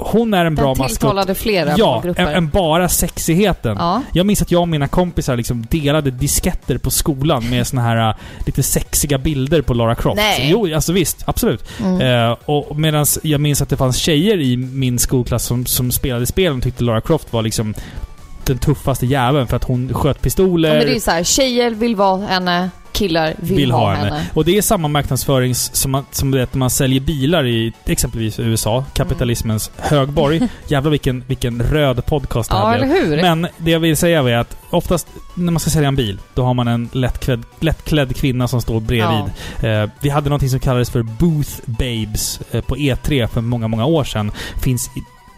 A: hon är en bra
B: den
A: maskot.
B: tilltalade flera
A: Ja,
B: grupper.
A: en, en bara sexigheten.
B: Ja.
A: Jag minns att jag och mina kompisar liksom delade disketter på skolan med såna här äh, lite sexiga bilder på Lara Croft.
B: Nej.
A: Jo, alltså visst. Absolut.
B: Mm.
A: Eh, och medan jag minns att det fanns tjejer i min skolklass som, som spelade spel och tyckte Lara Croft var liksom den tuffaste jäveln för att hon sköt pistoler.
B: ja, men det är ju så här, tjejer vill vara henne, killar vill, ha henne.
A: Och det är samma marknadsföring som, man, som det är att man säljer bilar i exempelvis USA, kapitalismens högborg.
B: (laughs)
A: Jävlar vilken, vilken röd podcast det här
B: Ja,
A: blev.
B: eller hur?
A: Men det jag vill säga är att oftast när man ska sälja en bil, då har man en lättklädd, lättklädd kvinna som står bredvid. Eh, vi hade någonting som kallades för Booth Babes eh, på E3 för många, många år sedan. Finns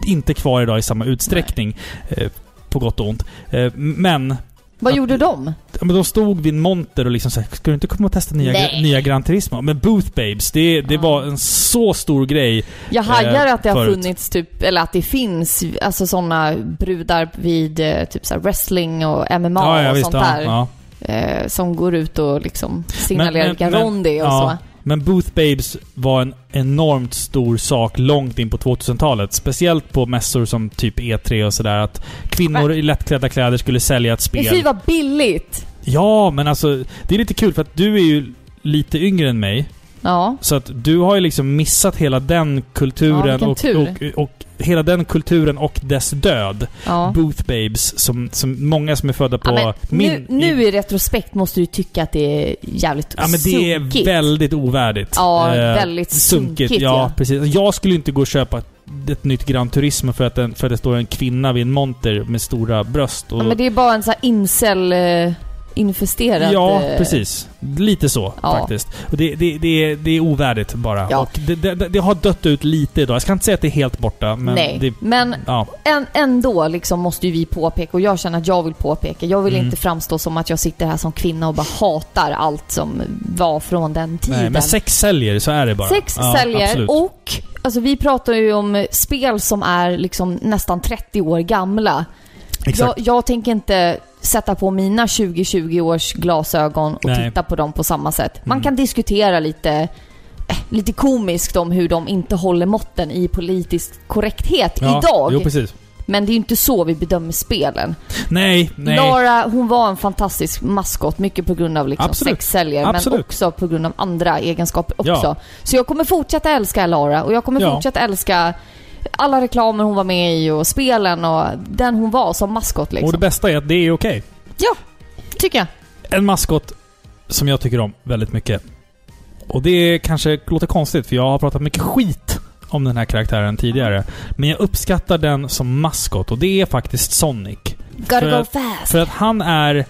A: i, inte kvar idag i samma utsträckning. Eh, på gott och ont. Eh, men,
B: Vad
A: att-
B: gjorde de?
A: ja, men de stod vid en monter och liksom såhär, ska du inte komma och testa nya,
B: Nej.
A: nya Gran Turismo? Men Booth Babes, det, det
B: Ja.
A: var en så stor grej.
B: Jag hajar att det har
A: Eh, förut.
B: funnits typ, eller att det finns, alltså sådana brudar vid eh, typ så här wrestling och MMA och sånt där.
A: ja.
B: Eh, som går ut och liksom signalerar
A: men-
B: vilka
A: men-
B: Rondi och
A: ja.
B: så.
A: Men Booth Babes var en enormt stor sak långt in på 2000-talet. Speciellt på mässor som typ E3 och sådär. Att kvinnor i lättklädda kläder skulle sälja ett
B: Men fy
A: spel.
B: vad billigt!
A: Ja, men alltså det är lite kul för att du är ju lite yngre än mig.
B: Ja.
A: Så att du har ju liksom missat hela den kulturen
B: Ja, vilken
A: och, och,
B: tur.
A: och, hela den kulturen och dess död.
B: ja.
A: Booth Babes, som, som många som är födda på
B: ja, men
A: min...
B: nu, nu i retrospekt måste du tycka att det är jävligt
A: Ja men det är
B: sunkigt.
A: väldigt ovärdigt.
B: Ja,
A: Eh,
B: väldigt sunkigt,
A: ja,
B: ja.
A: precis. Jag skulle inte gå och köpa ett- ett nytt Gran Turismo för att, den, för att det står en kvinna vid en monter med stora bröst. Och,
B: Ja, men det är bara en sån här incel... eh, infesterad...
A: Ja,
B: eh,
A: precis. Lite så
B: Ja.
A: faktiskt. Och det, det, det, är, det är ovärdigt bara.
B: Ja.
A: Och det, det, det har dött ut lite idag. Jag ska inte säga att det är helt borta, men...
B: nej,
A: Det,
B: men
A: ja.
B: än, ändå liksom måste ju vi påpeka, och jag känner att jag vill påpeka. Jag
A: Mm.
B: vill inte framstå som att jag sitter här som kvinna och bara hatar allt som var från den tiden.
A: Nej, men sex säljer, så är det bara.
B: Sex
A: Ja,
B: säljer
A: absolut.
B: och alltså, vi pratar ju om eh, spel som är liksom nästan 30 år gamla.
A: Exakt.
B: Jag, jag tänker inte sätta på mina 20-20 års glasögon och
A: Nej. Mm.
B: titta på dem på samma sätt. Man kan diskutera lite, eh, lite komiskt om hur de inte håller måtten i politisk korrekthet
A: Ja,
B: idag.
A: Jo, precis.
B: Men det är ju inte så vi bedömer spelen.
A: Nej, nej.
B: Lara, hon var en fantastisk maskot, mycket på grund av liksom
A: Absolut.
B: sexsäljer, men
A: Absolut.
B: också på grund av andra egenskaper också.
A: Ja.
B: Så jag kommer fortsätta älska Lara och jag kommer
A: Ja.
B: fortsätta älska alla reklamer hon var med i och spelen och den hon var som maskot
A: Och det
B: liksom.
A: bästa är att det är okej.
B: Ja, tycker jag.
A: En maskot som jag tycker om väldigt mycket. Och det kanske låter konstigt, för jag har pratat mycket skit om den här karaktären tidigare. Men jag uppskattar den som maskot, och det är faktiskt Sonic.
B: Gotta
A: För
B: go
A: att-
B: fast.
A: För att han är...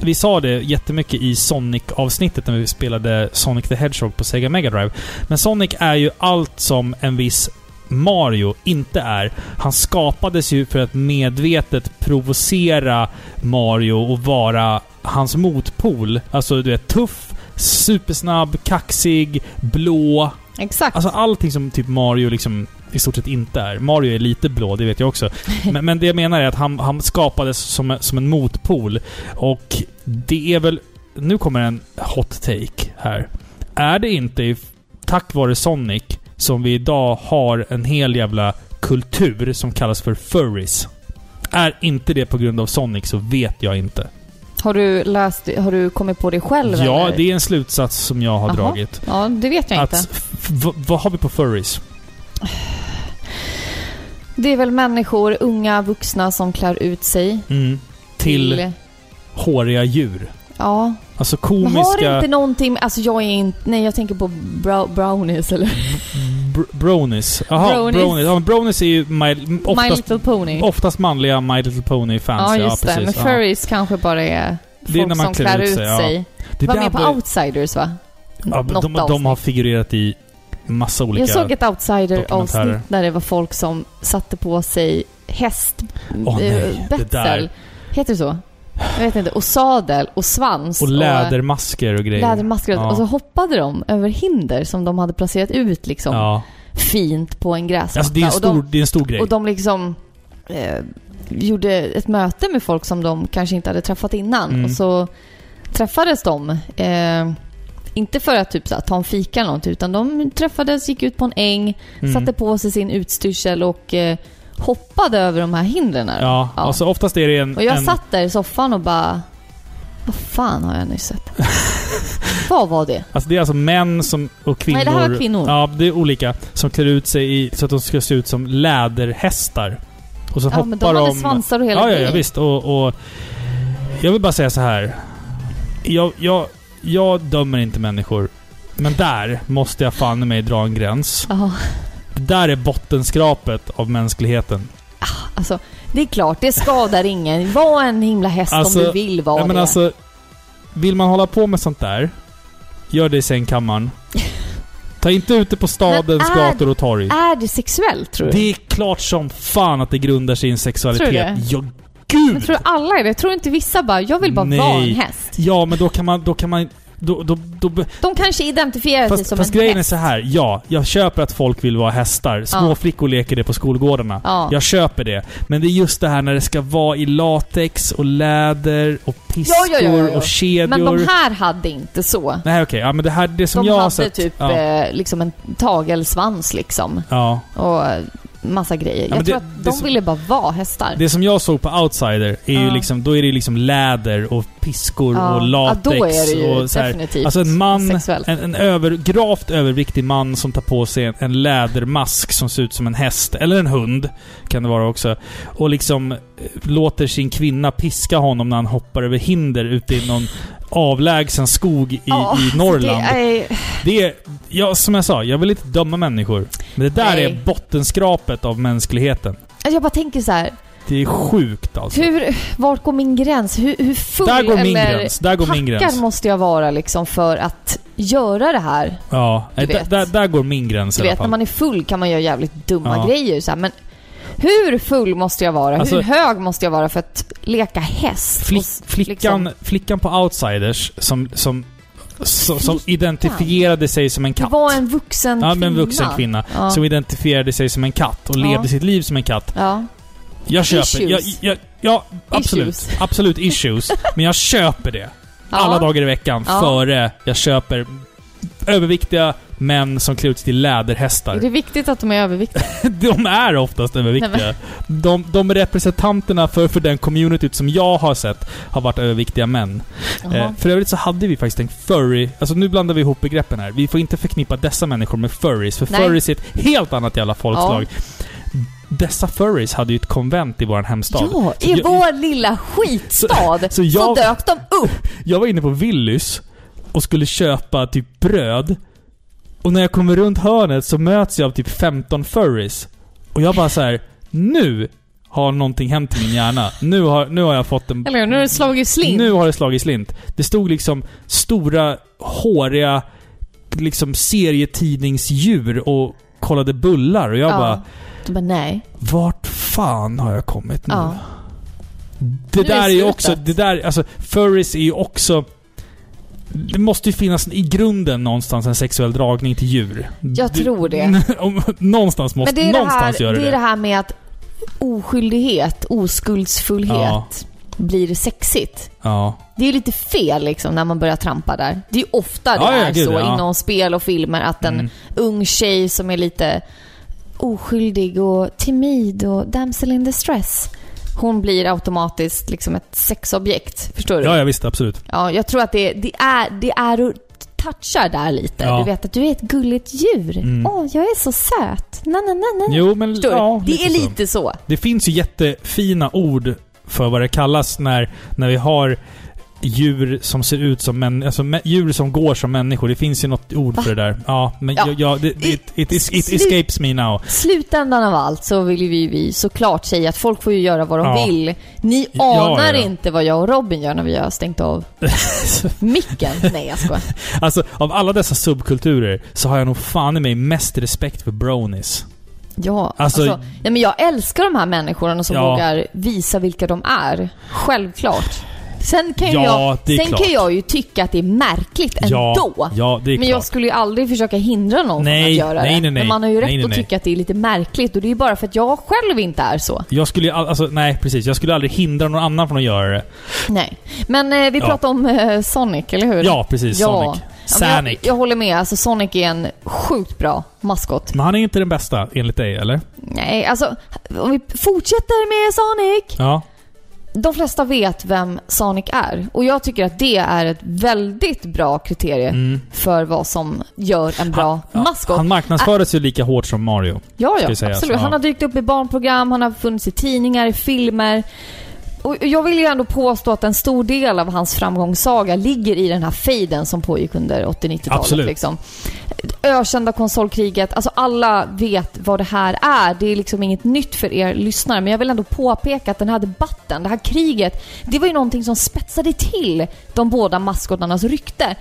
A: Vi sa det jättemycket i Sonic-avsnittet när vi spelade Sonic the Hedgehog på Sega Mega Drive. Men Sonic är ju allt som en viss Mario inte är. Han skapades ju för att medvetet provocera Mario och vara hans motpol. Alltså, du är tuff, supersnabb, kaxig, blå.
B: Exakt.
A: Alltså allting som typ Mario liksom i stort sett inte är. Mario är lite blå, det vet jag
B: (laughs)
A: också. Men, men det jag menar är att han, han skapades som, som en motpol. Och det är väl... Nu kommer en hot take här. Är det inte i- tack vare Sonic som vi idag har en hel jävla kultur som kallas för furries? Är inte det på grund av Sonic så vet jag inte.
B: Har du läst, har du kommit på det själv
A: Ja,
B: eller?
A: det är en slutsats som jag har
B: Jaha.
A: dragit.
B: Ja, det vet jag
A: Att,
B: inte.
A: f- v- vad har vi på furries?
B: Det är väl människor, unga vuxna som klär ut sig
A: Mm. till håriga djur.
B: Ja,
A: Alltså
B: Men har det
A: komiska
B: inte någonting, alltså jag är inte, nej jag tänker på brow, brownies eller
A: br- bronies. Jaha, bronies.
B: Bronies.
A: Ja, men bronies är ju my,
B: My
A: oftast,
B: Little Pony.
A: oftast manliga My Little Pony-fans.
B: ja just det, men
A: precis. Ja.
B: furries kanske bara är
A: Det är
B: folk
A: när man
B: som
A: klär
B: klär
A: ut
B: ut
A: sig, ja.
B: sig.
A: Det
B: Var
A: där
B: med på
A: bör-
B: Outsiders va?
A: ja,
B: Något
A: de, de har
B: avsnitt.
A: figurerat i massa olika...
B: Jag såg ett
A: dokumentärer.
B: Outsider-avsnitt där det var folk som satte på sig häst,
A: Åh,
B: eh,
A: nej, det
B: betsel,
A: där.
B: heter det så? Jag vet inte, och sadel och svans.
A: och lädermasker och grejer.
B: lädermasker.
A: Ja.
B: Och så hoppade de över hinder som de hade placerat ut liksom
A: ja.
B: fint på en gräsmatta.
A: alltså, det, är en
B: Och de-
A: stor, det är en stor grej.
B: Och de liksom eh, gjorde ett möte med folk som de kanske inte hade träffat innan.
A: Mm.
B: Och så träffades de. Eh, inte för att typ, så här, ta en fika eller något, utan de träffades, gick ut på en äng,
A: Mm.
B: satte på sig sin utstyrsel och eh, hoppade över de här hindren.
A: ja.
B: Ja.
A: Alltså, oftast är det en...
B: Och jag
A: en,
B: satt där i soffan och bara... Vad fan har jag nyss sett? Vad var det?
A: Alltså det är alltså män som, och kvinnor.
B: Nej, det här var kvinnor.
A: Ja, det är olika. Som klär ut sig i, så att de ska se ut som läderhästar. Och så
B: Ja,
A: hoppar
B: men de hade svansar och hela
A: ja, ja, ja,
B: grejen.
A: visst. Och, och jag vill bara säga så här. Jag, jag, jag dömer inte människor. Men där måste jag fan i mig dra en gräns.
B: Ja,
A: Det där är bottenskrapet av mänskligheten.
B: alltså, det är klart, det skadar ingen. Var en himla häst
A: Alltså,
B: om du vill vara
A: Nej, men
B: det.
A: alltså, vill man hålla på med sånt där, gör det i
B: (laughs)
A: sängkammaren. Ta inte ute på stadens
B: är-
A: gator och torg.
B: Är det sexuellt tror du?
A: Det är klart som fan att det grundar sig i en sexualitet.
B: Tror du det?
A: Ja, gud!
B: Men tror alla är det? Tror inte vissa bara, jag vill bara
A: Nej.
B: vara en häst?
A: Ja, men då kan man... Då kan man då, då, då,
B: De kanske identifierar sig
A: fast
B: Alltså, som
A: fast
B: en
A: grejen
B: häst.
A: är så här. ja, jag köper att folk vill vara hästar. Små
B: Ja.
A: flickor leker det på skolgårdarna.
B: Ja.
A: Jag köper det. Men det är just det här när det ska vara i latex och läder och piskor
B: ja, ja, ja.
A: och kedjor.
B: Men de här hade inte så.
A: Nej, okej. Ja, men det här... Det som
B: De
A: jag har
B: hade
A: sett...
B: typ
A: ja.
B: eh, liksom en tagelsvans liksom.
A: ja.
B: Och eh, massa grejer.
A: men
B: jag
A: det-
B: tror att
A: det
B: de
A: som-
B: ville bara vara hästar.
A: Det som jag såg på Outsider är ju
B: Ja.
A: liksom, då är det liksom läder och piskor
B: Ja.
A: och
B: Ja,
A: latex
B: då är det ju
A: och så här.
B: definitivt
A: Alltså en man,
B: sexuellt.
A: en, en över, gravt överviktig man som tar på sig en, en lädermask som ser ut som en häst, eller en hund kan det vara också, och liksom eh, låter sin kvinna piska honom när han hoppar över hinder ute i någon avlägsen skog i,
B: Ja,
A: i Norrland.
B: Det
A: Det är...
B: är,
A: ja, som jag sa, jag vill inte döma människor. Men det där
B: Nej.
A: är bottenskrapet av mänskligheten.
B: alltså, jag bara tänker så här.
A: Det är sjukt alltså.
B: Hur, vart går min gräns? Hur, hur full
A: Där går min
B: eller
A: gräns. Där går min
B: packad
A: gräns.
B: måste jag vara liksom för att göra det här?
A: Ja,
B: Du
A: eh, där,
B: vet.
A: där, där går min gräns
B: Du
A: i alla
B: vet, när
A: fall.
B: man är full kan man göra jävligt dumma
A: Ja.
B: grejer. Så här, men hur full måste jag vara?
A: Alltså-
B: hur hög måste jag vara för att leka häst?
A: Flick,
B: Och s- liksom
A: flickan, flickan på Outsiders som, som, som, som identifierade sig som en
B: det
A: katt.
B: var en vuxen
A: ja,
B: kvinna.
A: men en vuxen kvinna.
B: Ja.
A: Som identifierade sig som en katt och
B: Ja.
A: levde sitt liv som en katt.
B: Ja.
A: Jag köper... Jag,
B: Issues.
A: jag, ja, absolut.
B: Issues.
A: Absolut
B: (laughs)
A: issues. Men jag köper det.
B: Ja.
A: Alla dagar i veckan
B: Ja.
A: före jag köper överviktiga män som klär ut sig till läderhästar.
B: Är det viktigt att de är överviktiga?
A: (laughs) De är oftast överviktiga. De, de representanterna för, för den communityt som jag har sett har varit överviktiga män. (laughs) Eh,
B: Jaha.
A: för övrigt så hade vi faktiskt en furry... Alltså nu blandar vi ihop begreppen här. Vi får inte förknippa dessa människor med furries, för
B: Nej.
A: furries är ett helt annat jävla folkslag. Dessa furries hade ju ett konvent i vår hemstad.
B: Ja,
A: Så
B: i
A: jag-
B: vår lilla skitstad så,
A: (laughs) så jag-
B: dök de upp.
A: Jag var inne på Willys och skulle köpa typ bröd. Och när jag kommer runt hörnet så möts jag av typ 15 furries. Och jag bara så här: nu har någonting hänt i min hjärna. Nu har, nu har jag fått en...
B: Eller hur? Nu har det slagit slint.
A: Nu har det slagit slint. Det stod liksom stora, håriga, liksom serietidningsdjur och kollade bullar. Och jag
B: ja.
A: bara,
B: Du bara, nej.
A: vart fan har jag kommit nu?
B: Ja.
A: Det
B: Nu är
A: där är
B: det
A: ju
B: slutet.
A: också, det där, alltså furries är ju också... Det måste ju finnas i grunden någonstans en sexuell dragning till djur.
B: Jag
A: Du-
B: tror det.
A: (laughs) Om- någonstans måste,
B: Men det är det,
A: någonstans
B: här,
A: gör det
B: det är det här med att oskyldighet, oskuldsfullhet
A: Ja.
B: blir sexigt.
A: Ja.
B: Det är ju lite fel liksom när man börjar trampa där. Det är ju ofta det
A: Ja, ja,
B: är
A: gud,
B: så
A: ja.
B: inom spel och filmer att en
A: Mm.
B: ung tjej som är lite oskyldig och timid och damsel in distress. Hon blir automatiskt liksom ett sexobjekt. Förstår du?
A: ja, ja visst, absolut.
B: Ja, jag tror att det, det är, det är och touchar där lite.
A: Ja.
B: Du vet att du är ett gulligt djur. Åh,
A: Mm.
B: jag är så söt. Na, na, na, na.
A: Jo, men
B: Förstår du?
A: ja,
B: det är
A: så.
B: lite så.
A: Det finns ju jättefina ord för vad det kallas när, när vi har djur som ser ut som människor, alltså mä- djur som går som människor. Det finns ju något ord för det där. Ja, men
B: Ja.
A: ja. Jag, jag, det, det, it, it, it,
B: Slut.
A: escapes me now.
B: Slutändan av allt så vill ju vi, vi såklart säga att folk får ju göra vad de
A: Ja.
B: vill. Ni
A: Ja, ja,
B: anar
A: ja.
B: inte vad jag och Robin gör när vi har
A: (laughs)
B: stängt av micken. Nej, jag skojar.
A: Alltså, av alla dessa subkulturer så har jag nog fan i mig mest respekt för bronies.
B: Ja, alltså,
A: Alltså-
B: ja, men jag älskar de här människorna som
A: Ja.
B: vågar visa vilka de är. Självklart. Sen kan, ju
A: Ja,
B: jag,
A: det är
B: sen
A: klart.
B: kan jag ju tycka att det är märkligt ändå.
A: Ja, ja, det är
B: Men jag
A: klart.
B: skulle ju aldrig försöka hindra någon från att
A: Nej,
B: göra
A: nej, nej,
B: det.
A: nej.
B: Men man har ju rätt
A: Nej, nej,
B: att
A: nej.
B: tycka att det är lite märkligt och det är ju bara för att jag själv inte är så.
A: Jag skulle ju all- alltså, nej precis. Jag skulle aldrig hindra någon annan från att göra det.
B: Nej. Men eh, vi
A: Ja.
B: pratade om eh, Sonic, eller hur?
A: Ja, precis. Sonic.
B: Ja, men
A: Sanic.
B: Jag, jag håller med. Alltså Sonic är en sjukt bra maskot.
A: Men han är inte den bästa, enligt dig, eller?
B: Nej, alltså om vi fortsätter med Sonic.
A: Ja.
B: De flesta vet vem Sonic är och jag tycker att det är ett väldigt bra kriterie för vad som gör en bra maskot.
A: Mm.
B: Ah.
A: Han marknadsfördes ju lika hårt som Mario.
B: Ja, ja
A: jag säga.
B: absolut.
A: Ja.
B: Han har dykt upp i barnprogram, han har funnits i tidningar, i filmer. Och jag vill ju ändå påstå att en stor del av hans framgångssaga ligger i den här fejden som pågick under 80-90-talet.
A: Absolut.
B: Liksom. Ökända konsolkriget, alltså alla vet vad det här är. Det är liksom inget nytt för er lyssnare. Men jag vill ändå påpeka att den här debatten, det här kriget, det var ju någonting som spetsade till de båda maskotarnas rykte.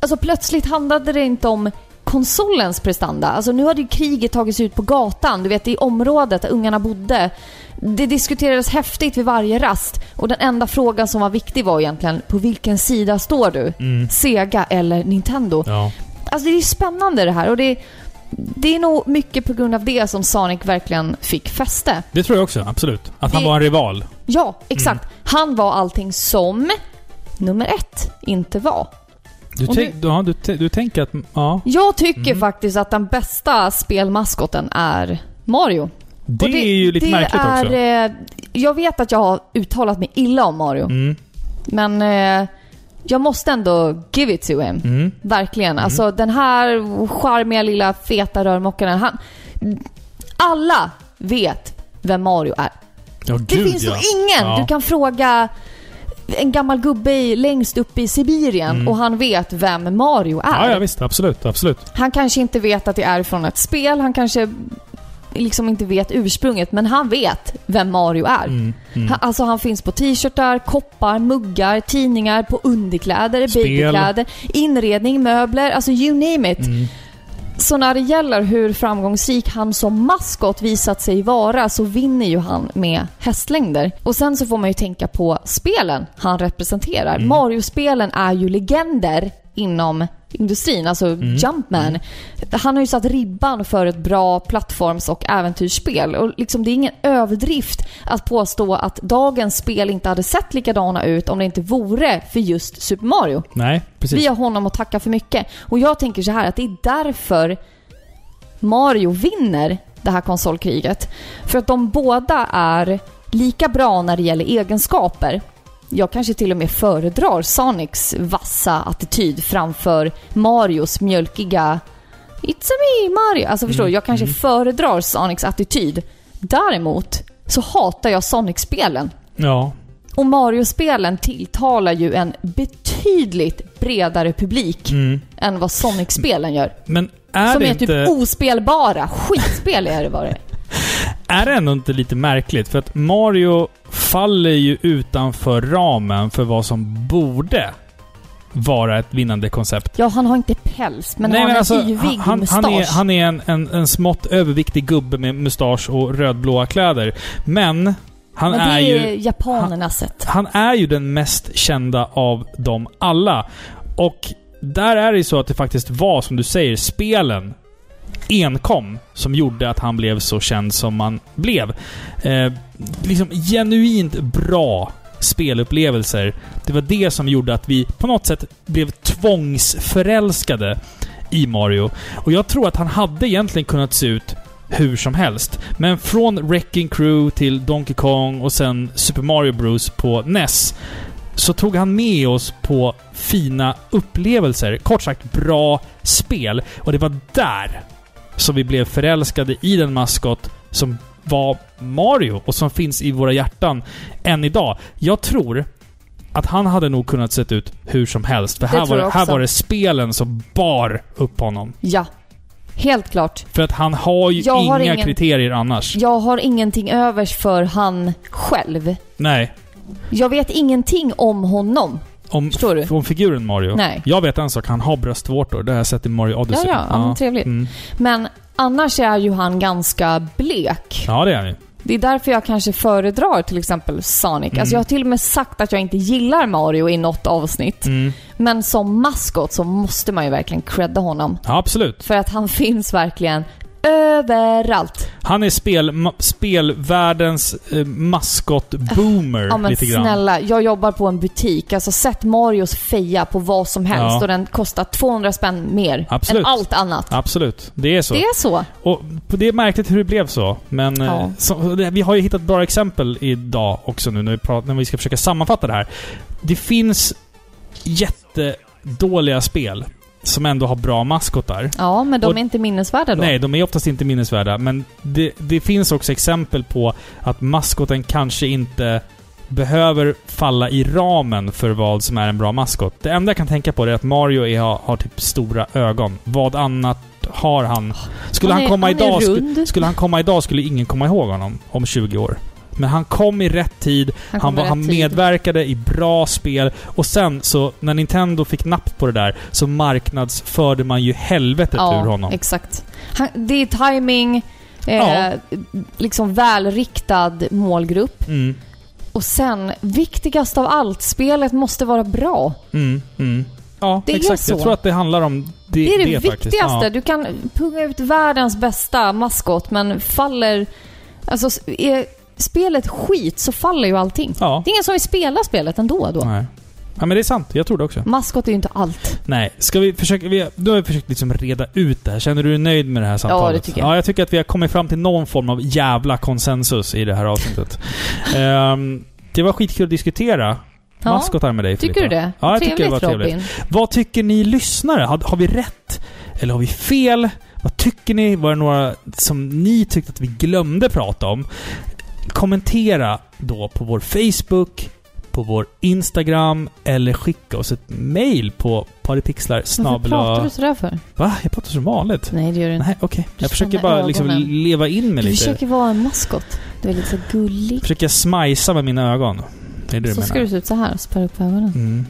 B: Alltså plötsligt handlade det inte om konsolens prestanda. Alltså nu hade ju kriget tagits ut på gatan, du vet i området där ungarna bodde. Det diskuterades häftigt vid varje rast och den enda frågan som var viktig var egentligen på vilken sida står du? Sega eller Nintendo?
A: Ja.
B: Alltså det är ju spännande det här och det, det är nog mycket på grund av det som Sonic verkligen fick fäste.
A: Det tror jag också, absolut. Att han
B: Det-
A: var en rival.
B: Ja, exakt. Han var allting som nummer ett inte var.
A: Du,
B: Och
A: tänk, ja, du, t- du tänker att... Ja.
B: Jag tycker faktiskt att den bästa spelmaskoten är Mario.
A: Det,
B: Och
A: är ju lite
B: det
A: märkligt
B: är,
A: också.
B: eh, Jag vet att jag har uttalat mig illa om Mario,
A: Mm,
B: men eh, jag måste ändå give it to him.
A: mm.
B: Verkligen. Alltså den här charmiga lilla feta rörmokaren. Han, alla vet vem Mario är.
A: Ja,
B: Det
A: gud,
B: finns
A: ja.
B: nog ingen.
A: Ja.
B: Du kan fråga en gammal gubbe i- längst upp i Sibirien
A: Mm.
B: och han vet vem Mario är.
A: Ja, ja, visst. Absolut, absolut.
B: Han kanske inte vet att det är från ett spel. Han kanske liksom inte vet ursprunget, men han vet vem Mario är.
A: Mm,
B: Han, alltså han finns på t-shirtar, koppar, muggar, tidningar, på underkläder,
A: Spel.
B: babykläder, inredning, möbler, alltså you name it. Så när det gäller hur framgångsrik han som maskot visat sig vara så vinner ju han med hästlängder. Och sen så får man ju tänka på spelen han representerar. Mario-spelen är ju legender inom industrin, alltså Jumpman. Han har ju satt ribban för ett bra plattforms och äventyrsspel. Och liksom, det är ingen överdrift att påstå att dagens spel inte hade sett likadana ut om det inte vore för just Super Mario.
A: Nej, precis.
B: Vi har honom att tacka för mycket. Och jag tänker så här att det är därför Mario vinner det här konsolkriget. För att de båda är lika bra när det gäller egenskaper. Jag kanske till och med föredrar Sonics vassa attityd framför Marios mjölkiga It's a me Mario. Alltså förstår du? Jag kanske föredrar Sonics attityd. Däremot så hatar jag Sonic-spelen.
A: Ja.
B: Och Mario-spelen tilltalar ju en betydligt bredare publik än vad Sonic-spelen gör.
A: Men Mm. är
B: som
A: det
B: är
A: inte...
B: typ ospelbara. Skitspel är det vad det är.
A: är det ändå inte lite märkligt? För att Mario faller ju utanför ramen för vad som borde vara ett vinnande koncept. alltså,
B: Ja, han har inte päls, men han har en yvig
A: han,
B: mustasch.
A: han är, han är en, en, en smått överviktig gubbe med mustasch och rödblåa kläder. Men han
B: men
A: är
B: det
A: ju...
B: är japanernas sätt.
A: Han är ju den mest kända av dem alla. Och där är det ju så att det faktiskt var, som du säger, spelen enkom som gjorde att han blev så känd som han blev. Eh, liksom genuint bra spelupplevelser. Det var det som gjorde att vi på något sätt blev tvångsförälskade i Mario. Och jag tror att han hade egentligen kunnat se ut hur som helst. Men från Wrecking Crew till Donkey Kong och sen Super Mario Bros på NES så tog han med oss på fina upplevelser. Kort sagt, bra spel. Och det var där som vi blev förälskade i den maskot som var Mario och som finns i våra hjärtan än idag. Jag tror att han hade nog kunnat se ut hur som helst. För
B: Det
A: här
B: tror
A: var,
B: jag
A: här
B: också.
A: var det spelen som bar upp honom.
B: Ja. Helt klart.
A: För att han har ju
B: Jag
A: inga
B: har ingen-
A: kriterier annars.
B: Jag har ingenting övers för han själv.
A: Nej.
B: Jag vet ingenting om honom.
A: Om,
B: Förstår du?
A: om figuren Mario.
B: Nej.
A: Jag vet en sak, han har bröstvårtor. Det har jag sett i Mario
B: Ja,
A: Odyssey.
B: ja, ja. men Trevligt.
A: Mm.
B: Men annars är ju han ganska blek.
A: ja det är han ju.
B: Det är därför jag kanske föredrar till exempel Sonic.
A: Mm.
B: Alltså jag har till och med sagt att jag inte gillar Mario i något avsnitt.
A: Mm.
B: Men som maskot så måste man ju verkligen credda honom.
A: Ja, absolut.
B: För att han (laughs) finns verkligen överallt.
A: Han är spel, ma, spelvärldens eh, maskot-boomer
B: Ah. Ja men
A: lite grann.
B: snälla, jag jobbar på en butik. Alltså sätt Marios feja på vad som helst
A: Ja.
B: och den kostar 200 spänn mer
A: Absolut.
B: än allt annat.
A: Absolut. Det är så.
B: Det är så.
A: Och det är märkligt hur det blev så. Men eh,
B: Ja.
A: så, det- vi har ju hittat bra exempel idag också nu när vi, pratar, när vi ska försöka sammanfatta det här. Det finns jättedåliga spel som ändå har bra maskotar.
B: Ja, men de
A: Och-
B: är inte minnesvärda då.
A: Nej, de är oftast inte minnesvärda. Men det, det finns också exempel på att maskoten kanske inte behöver falla i ramen för vad som är en bra maskot. Det enda jag kan tänka på är att Mario är, har, har typ stora ögon. Vad annat har han? Skulle
B: Han
A: han,
B: är-
A: komma
B: han är
A: idag... sku-
B: rund.
A: skulle han komma idag skulle ingen komma ihåg honom om 20 år. Men han kom i rätt tid, han,
B: Han kom
A: var,
B: i rätt
A: han
B: tid.
A: medverkade i bra spel och sen så, när Nintendo fick napp på det där, så marknadsförde man ju helvetet ur honom.
B: exakt. Han, det är timing, eh,
A: Ja.
B: liksom välriktad målgrupp.
A: Mm,
B: Och sen, viktigast av allt, spelet måste vara bra.
A: mm, mm. Ja,
B: Det är
A: exakt.
B: så.
A: Jag tror att det handlar om det
B: Det är det,
A: faktiskt.
B: viktigaste.
A: Ja.
B: Du kan punga ut världens bästa maskot, men faller... Alltså, s- är spelet skit så faller ju allting.
A: Ja.
B: Det är ingen som vill spela spelet ändå då.
A: Nej. Ja, men det är sant. Jag tror det också.
B: Maskot är ju inte allt.
A: Nej, ska vi försöka... Vi, nu har vi försökt liksom reda ut det här. Känner du dig nöjd med det här samtalet?
B: det tycker jag.
A: Ja, jag tycker att vi har kommit fram till någon form av jävla konsensus i det här
B: (laughs)
A: avsnittet. Ehm, det var skitkul att diskutera
B: Ja.
A: maskotar med dig
B: Tycker du
A: Filippa.
B: det?
A: Ja, jag
B: trevligt
A: tycker det var trevligt.
B: Robin.
A: Vad tycker ni lyssnare? Har, har vi rätt? Eller har vi fel? Vad tycker ni? Var det några som ni tyckte att vi glömde prata om? Kommentera då på vår Facebook, på vår Instagram eller skicka oss ett mail på paripixlar
B: Varför pratar
A: snabla...
B: du sådär för?
A: Va? Jag pratar som vanligt.
B: Nej, det gör du inte.
A: Nej, okej.
B: Du
A: Jag försöker
B: spänner
A: bara liksom
B: ögonen.
A: leva in mig
B: Du
A: lite.
B: försöker vara en maskot. Du är lite så gullig.
A: Försöker smajsa med mina ögon. Det är det
B: Så
A: du
B: ska du
A: menar.
B: se ut så här och spärra upp ögonen.
A: Mm.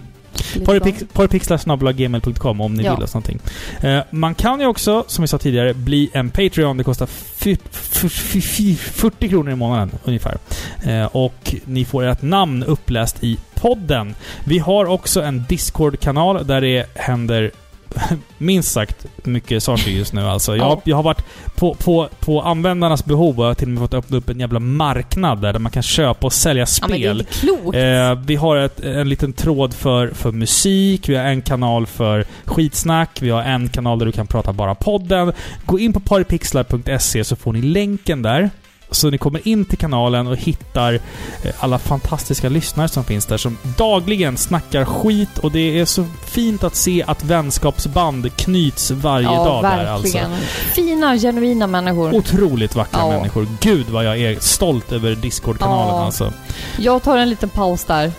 B: Lite
A: Porrpix-
B: barn.
A: Porrpixlar.gmail.com om ni
B: Ja.
A: vill oss någonting. Eh, man kan ju också, som vi sa tidigare, bli en Patreon. Det kostar fy- fy- fy- fy- 40 kronor i månaden ungefär. Eh, och ni får ert namn uppläst i podden. Vi har också en Discord-kanal där det händer (laughs) minst sagt mycket saker just nu alltså. Jag,
B: Ja.
A: jag har varit på, på, på användarnas behov har jag till och med fått öppna upp en jävla marknad där, där man kan köpa och sälja
B: Ja, men det är
A: spel.
B: inte klokt.
A: Eh, vi har ett, en liten tråd för, för musik, vi har en kanal för skitsnack, vi har en kanal där du kan prata bara podden. Gå in på paripixlar.se så får ni länken där. Så ni kommer in till kanalen och hittar eh, alla fantastiska lyssnare som finns där som dagligen snackar skit och det är så fint att se att vänskapsband knyts varje
B: ja,
A: dag där alltså.
B: verkligen. Fina, genuina människor.
A: Otroligt vackra
B: Ja.
A: människor. Gud vad jag är stolt över Discord-kanalen
B: Ja.
A: alltså.
B: Jag tar en liten paus där.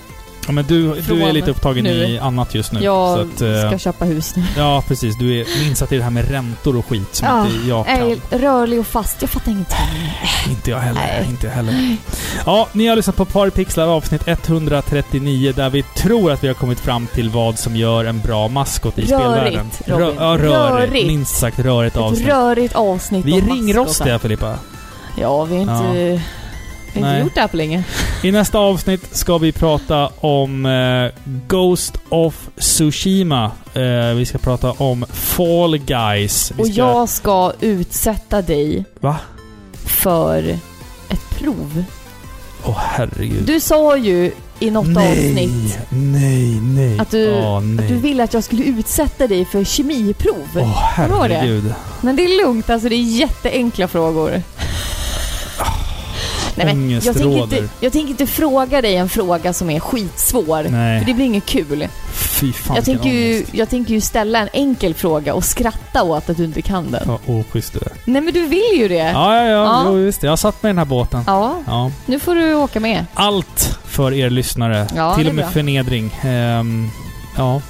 A: Ja, men du,
B: Från
A: du är lite upptagen
B: nu.
A: i annat just nu.
B: jag
A: så att, eh,
B: ska köpa hus nu.
A: Ja, precis. Du är minst att det är det här med räntor och skit som
B: Ja,
A: inte jag kan.
B: Är rörlig och fast. Jag fattar ingenting.
A: Inte jag heller.
B: Nej.
A: Inte jag heller. Ja, ni har lyssnat på Parpixlar avsnitt 139 där vi tror att vi har kommit fram till vad som gör en bra maskot i
B: Rörigt,
A: spelvärlden.
B: Robin.
A: Rö- ja, rörigt.
B: Rörigt.
A: Minst sagt rörigt
B: Ett
A: avsnitt.
B: rörigt avsnitt
A: vi
B: om
A: är ringrostiga, Filippa.
B: maskotar. Ja, vi har inte,
A: Ja.
B: vi har inte
A: Nej.
B: gjort det här på länge.
A: I nästa avsnitt ska vi prata om eh, Ghost of Tsushima. Eh, vi ska prata om Fall Guys. Vi
B: Och
A: ska...
B: jag ska utsätta dig
A: Va?
B: för ett prov.
A: Åh, herregud.
B: Du sa ju i något avsnitt
A: Nej, nej.
B: Att du-
A: Åh, nej.
B: att du ville att jag skulle utsätta dig för kemiprov.
A: Åh,
B: Kommer du ihåg det?
A: herregud.
B: Men det är lugnt, alltså det är jätteenkla frågor.
A: Ah, ångest
B: jag, tänker
A: råder.
B: inte, jag tänker inte fråga dig en fråga som är skitsvår. För
A: Nej,
B: det blir inget kul.
A: fy fan
B: Jag
A: vilken
B: tänker, ju,
A: ångest.
B: jag tänker ju ställa en enkel fråga och skratta åt att du inte kan den.
A: Ja, oschysst det där.
B: Nej men du vill ju det!
A: Ja, ja, ja.
B: Ja.
A: Jo, visst. Jag har satt mig i den här båten.
B: Ja,
A: Ja.
B: nu får du åka med.
A: Allt för er lyssnare.
B: Ja,
A: Till
B: det är
A: och med
B: bra.
A: förnedring. Ehm, ja.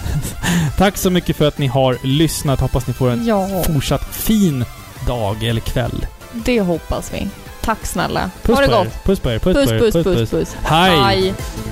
B: (laughs)
A: Tack så mycket för att ni har lyssnat. Hoppas ni får en
B: Ja,
A: fortsatt fin dag eller kväll.
B: det hoppas vi. Tack snälla.
A: Puss
B: ha det
A: på er.
B: gott.
A: Puss på er. Puss,
B: Puss,
A: på er.
B: puss, puss, puss.
A: Hej.
B: Hej.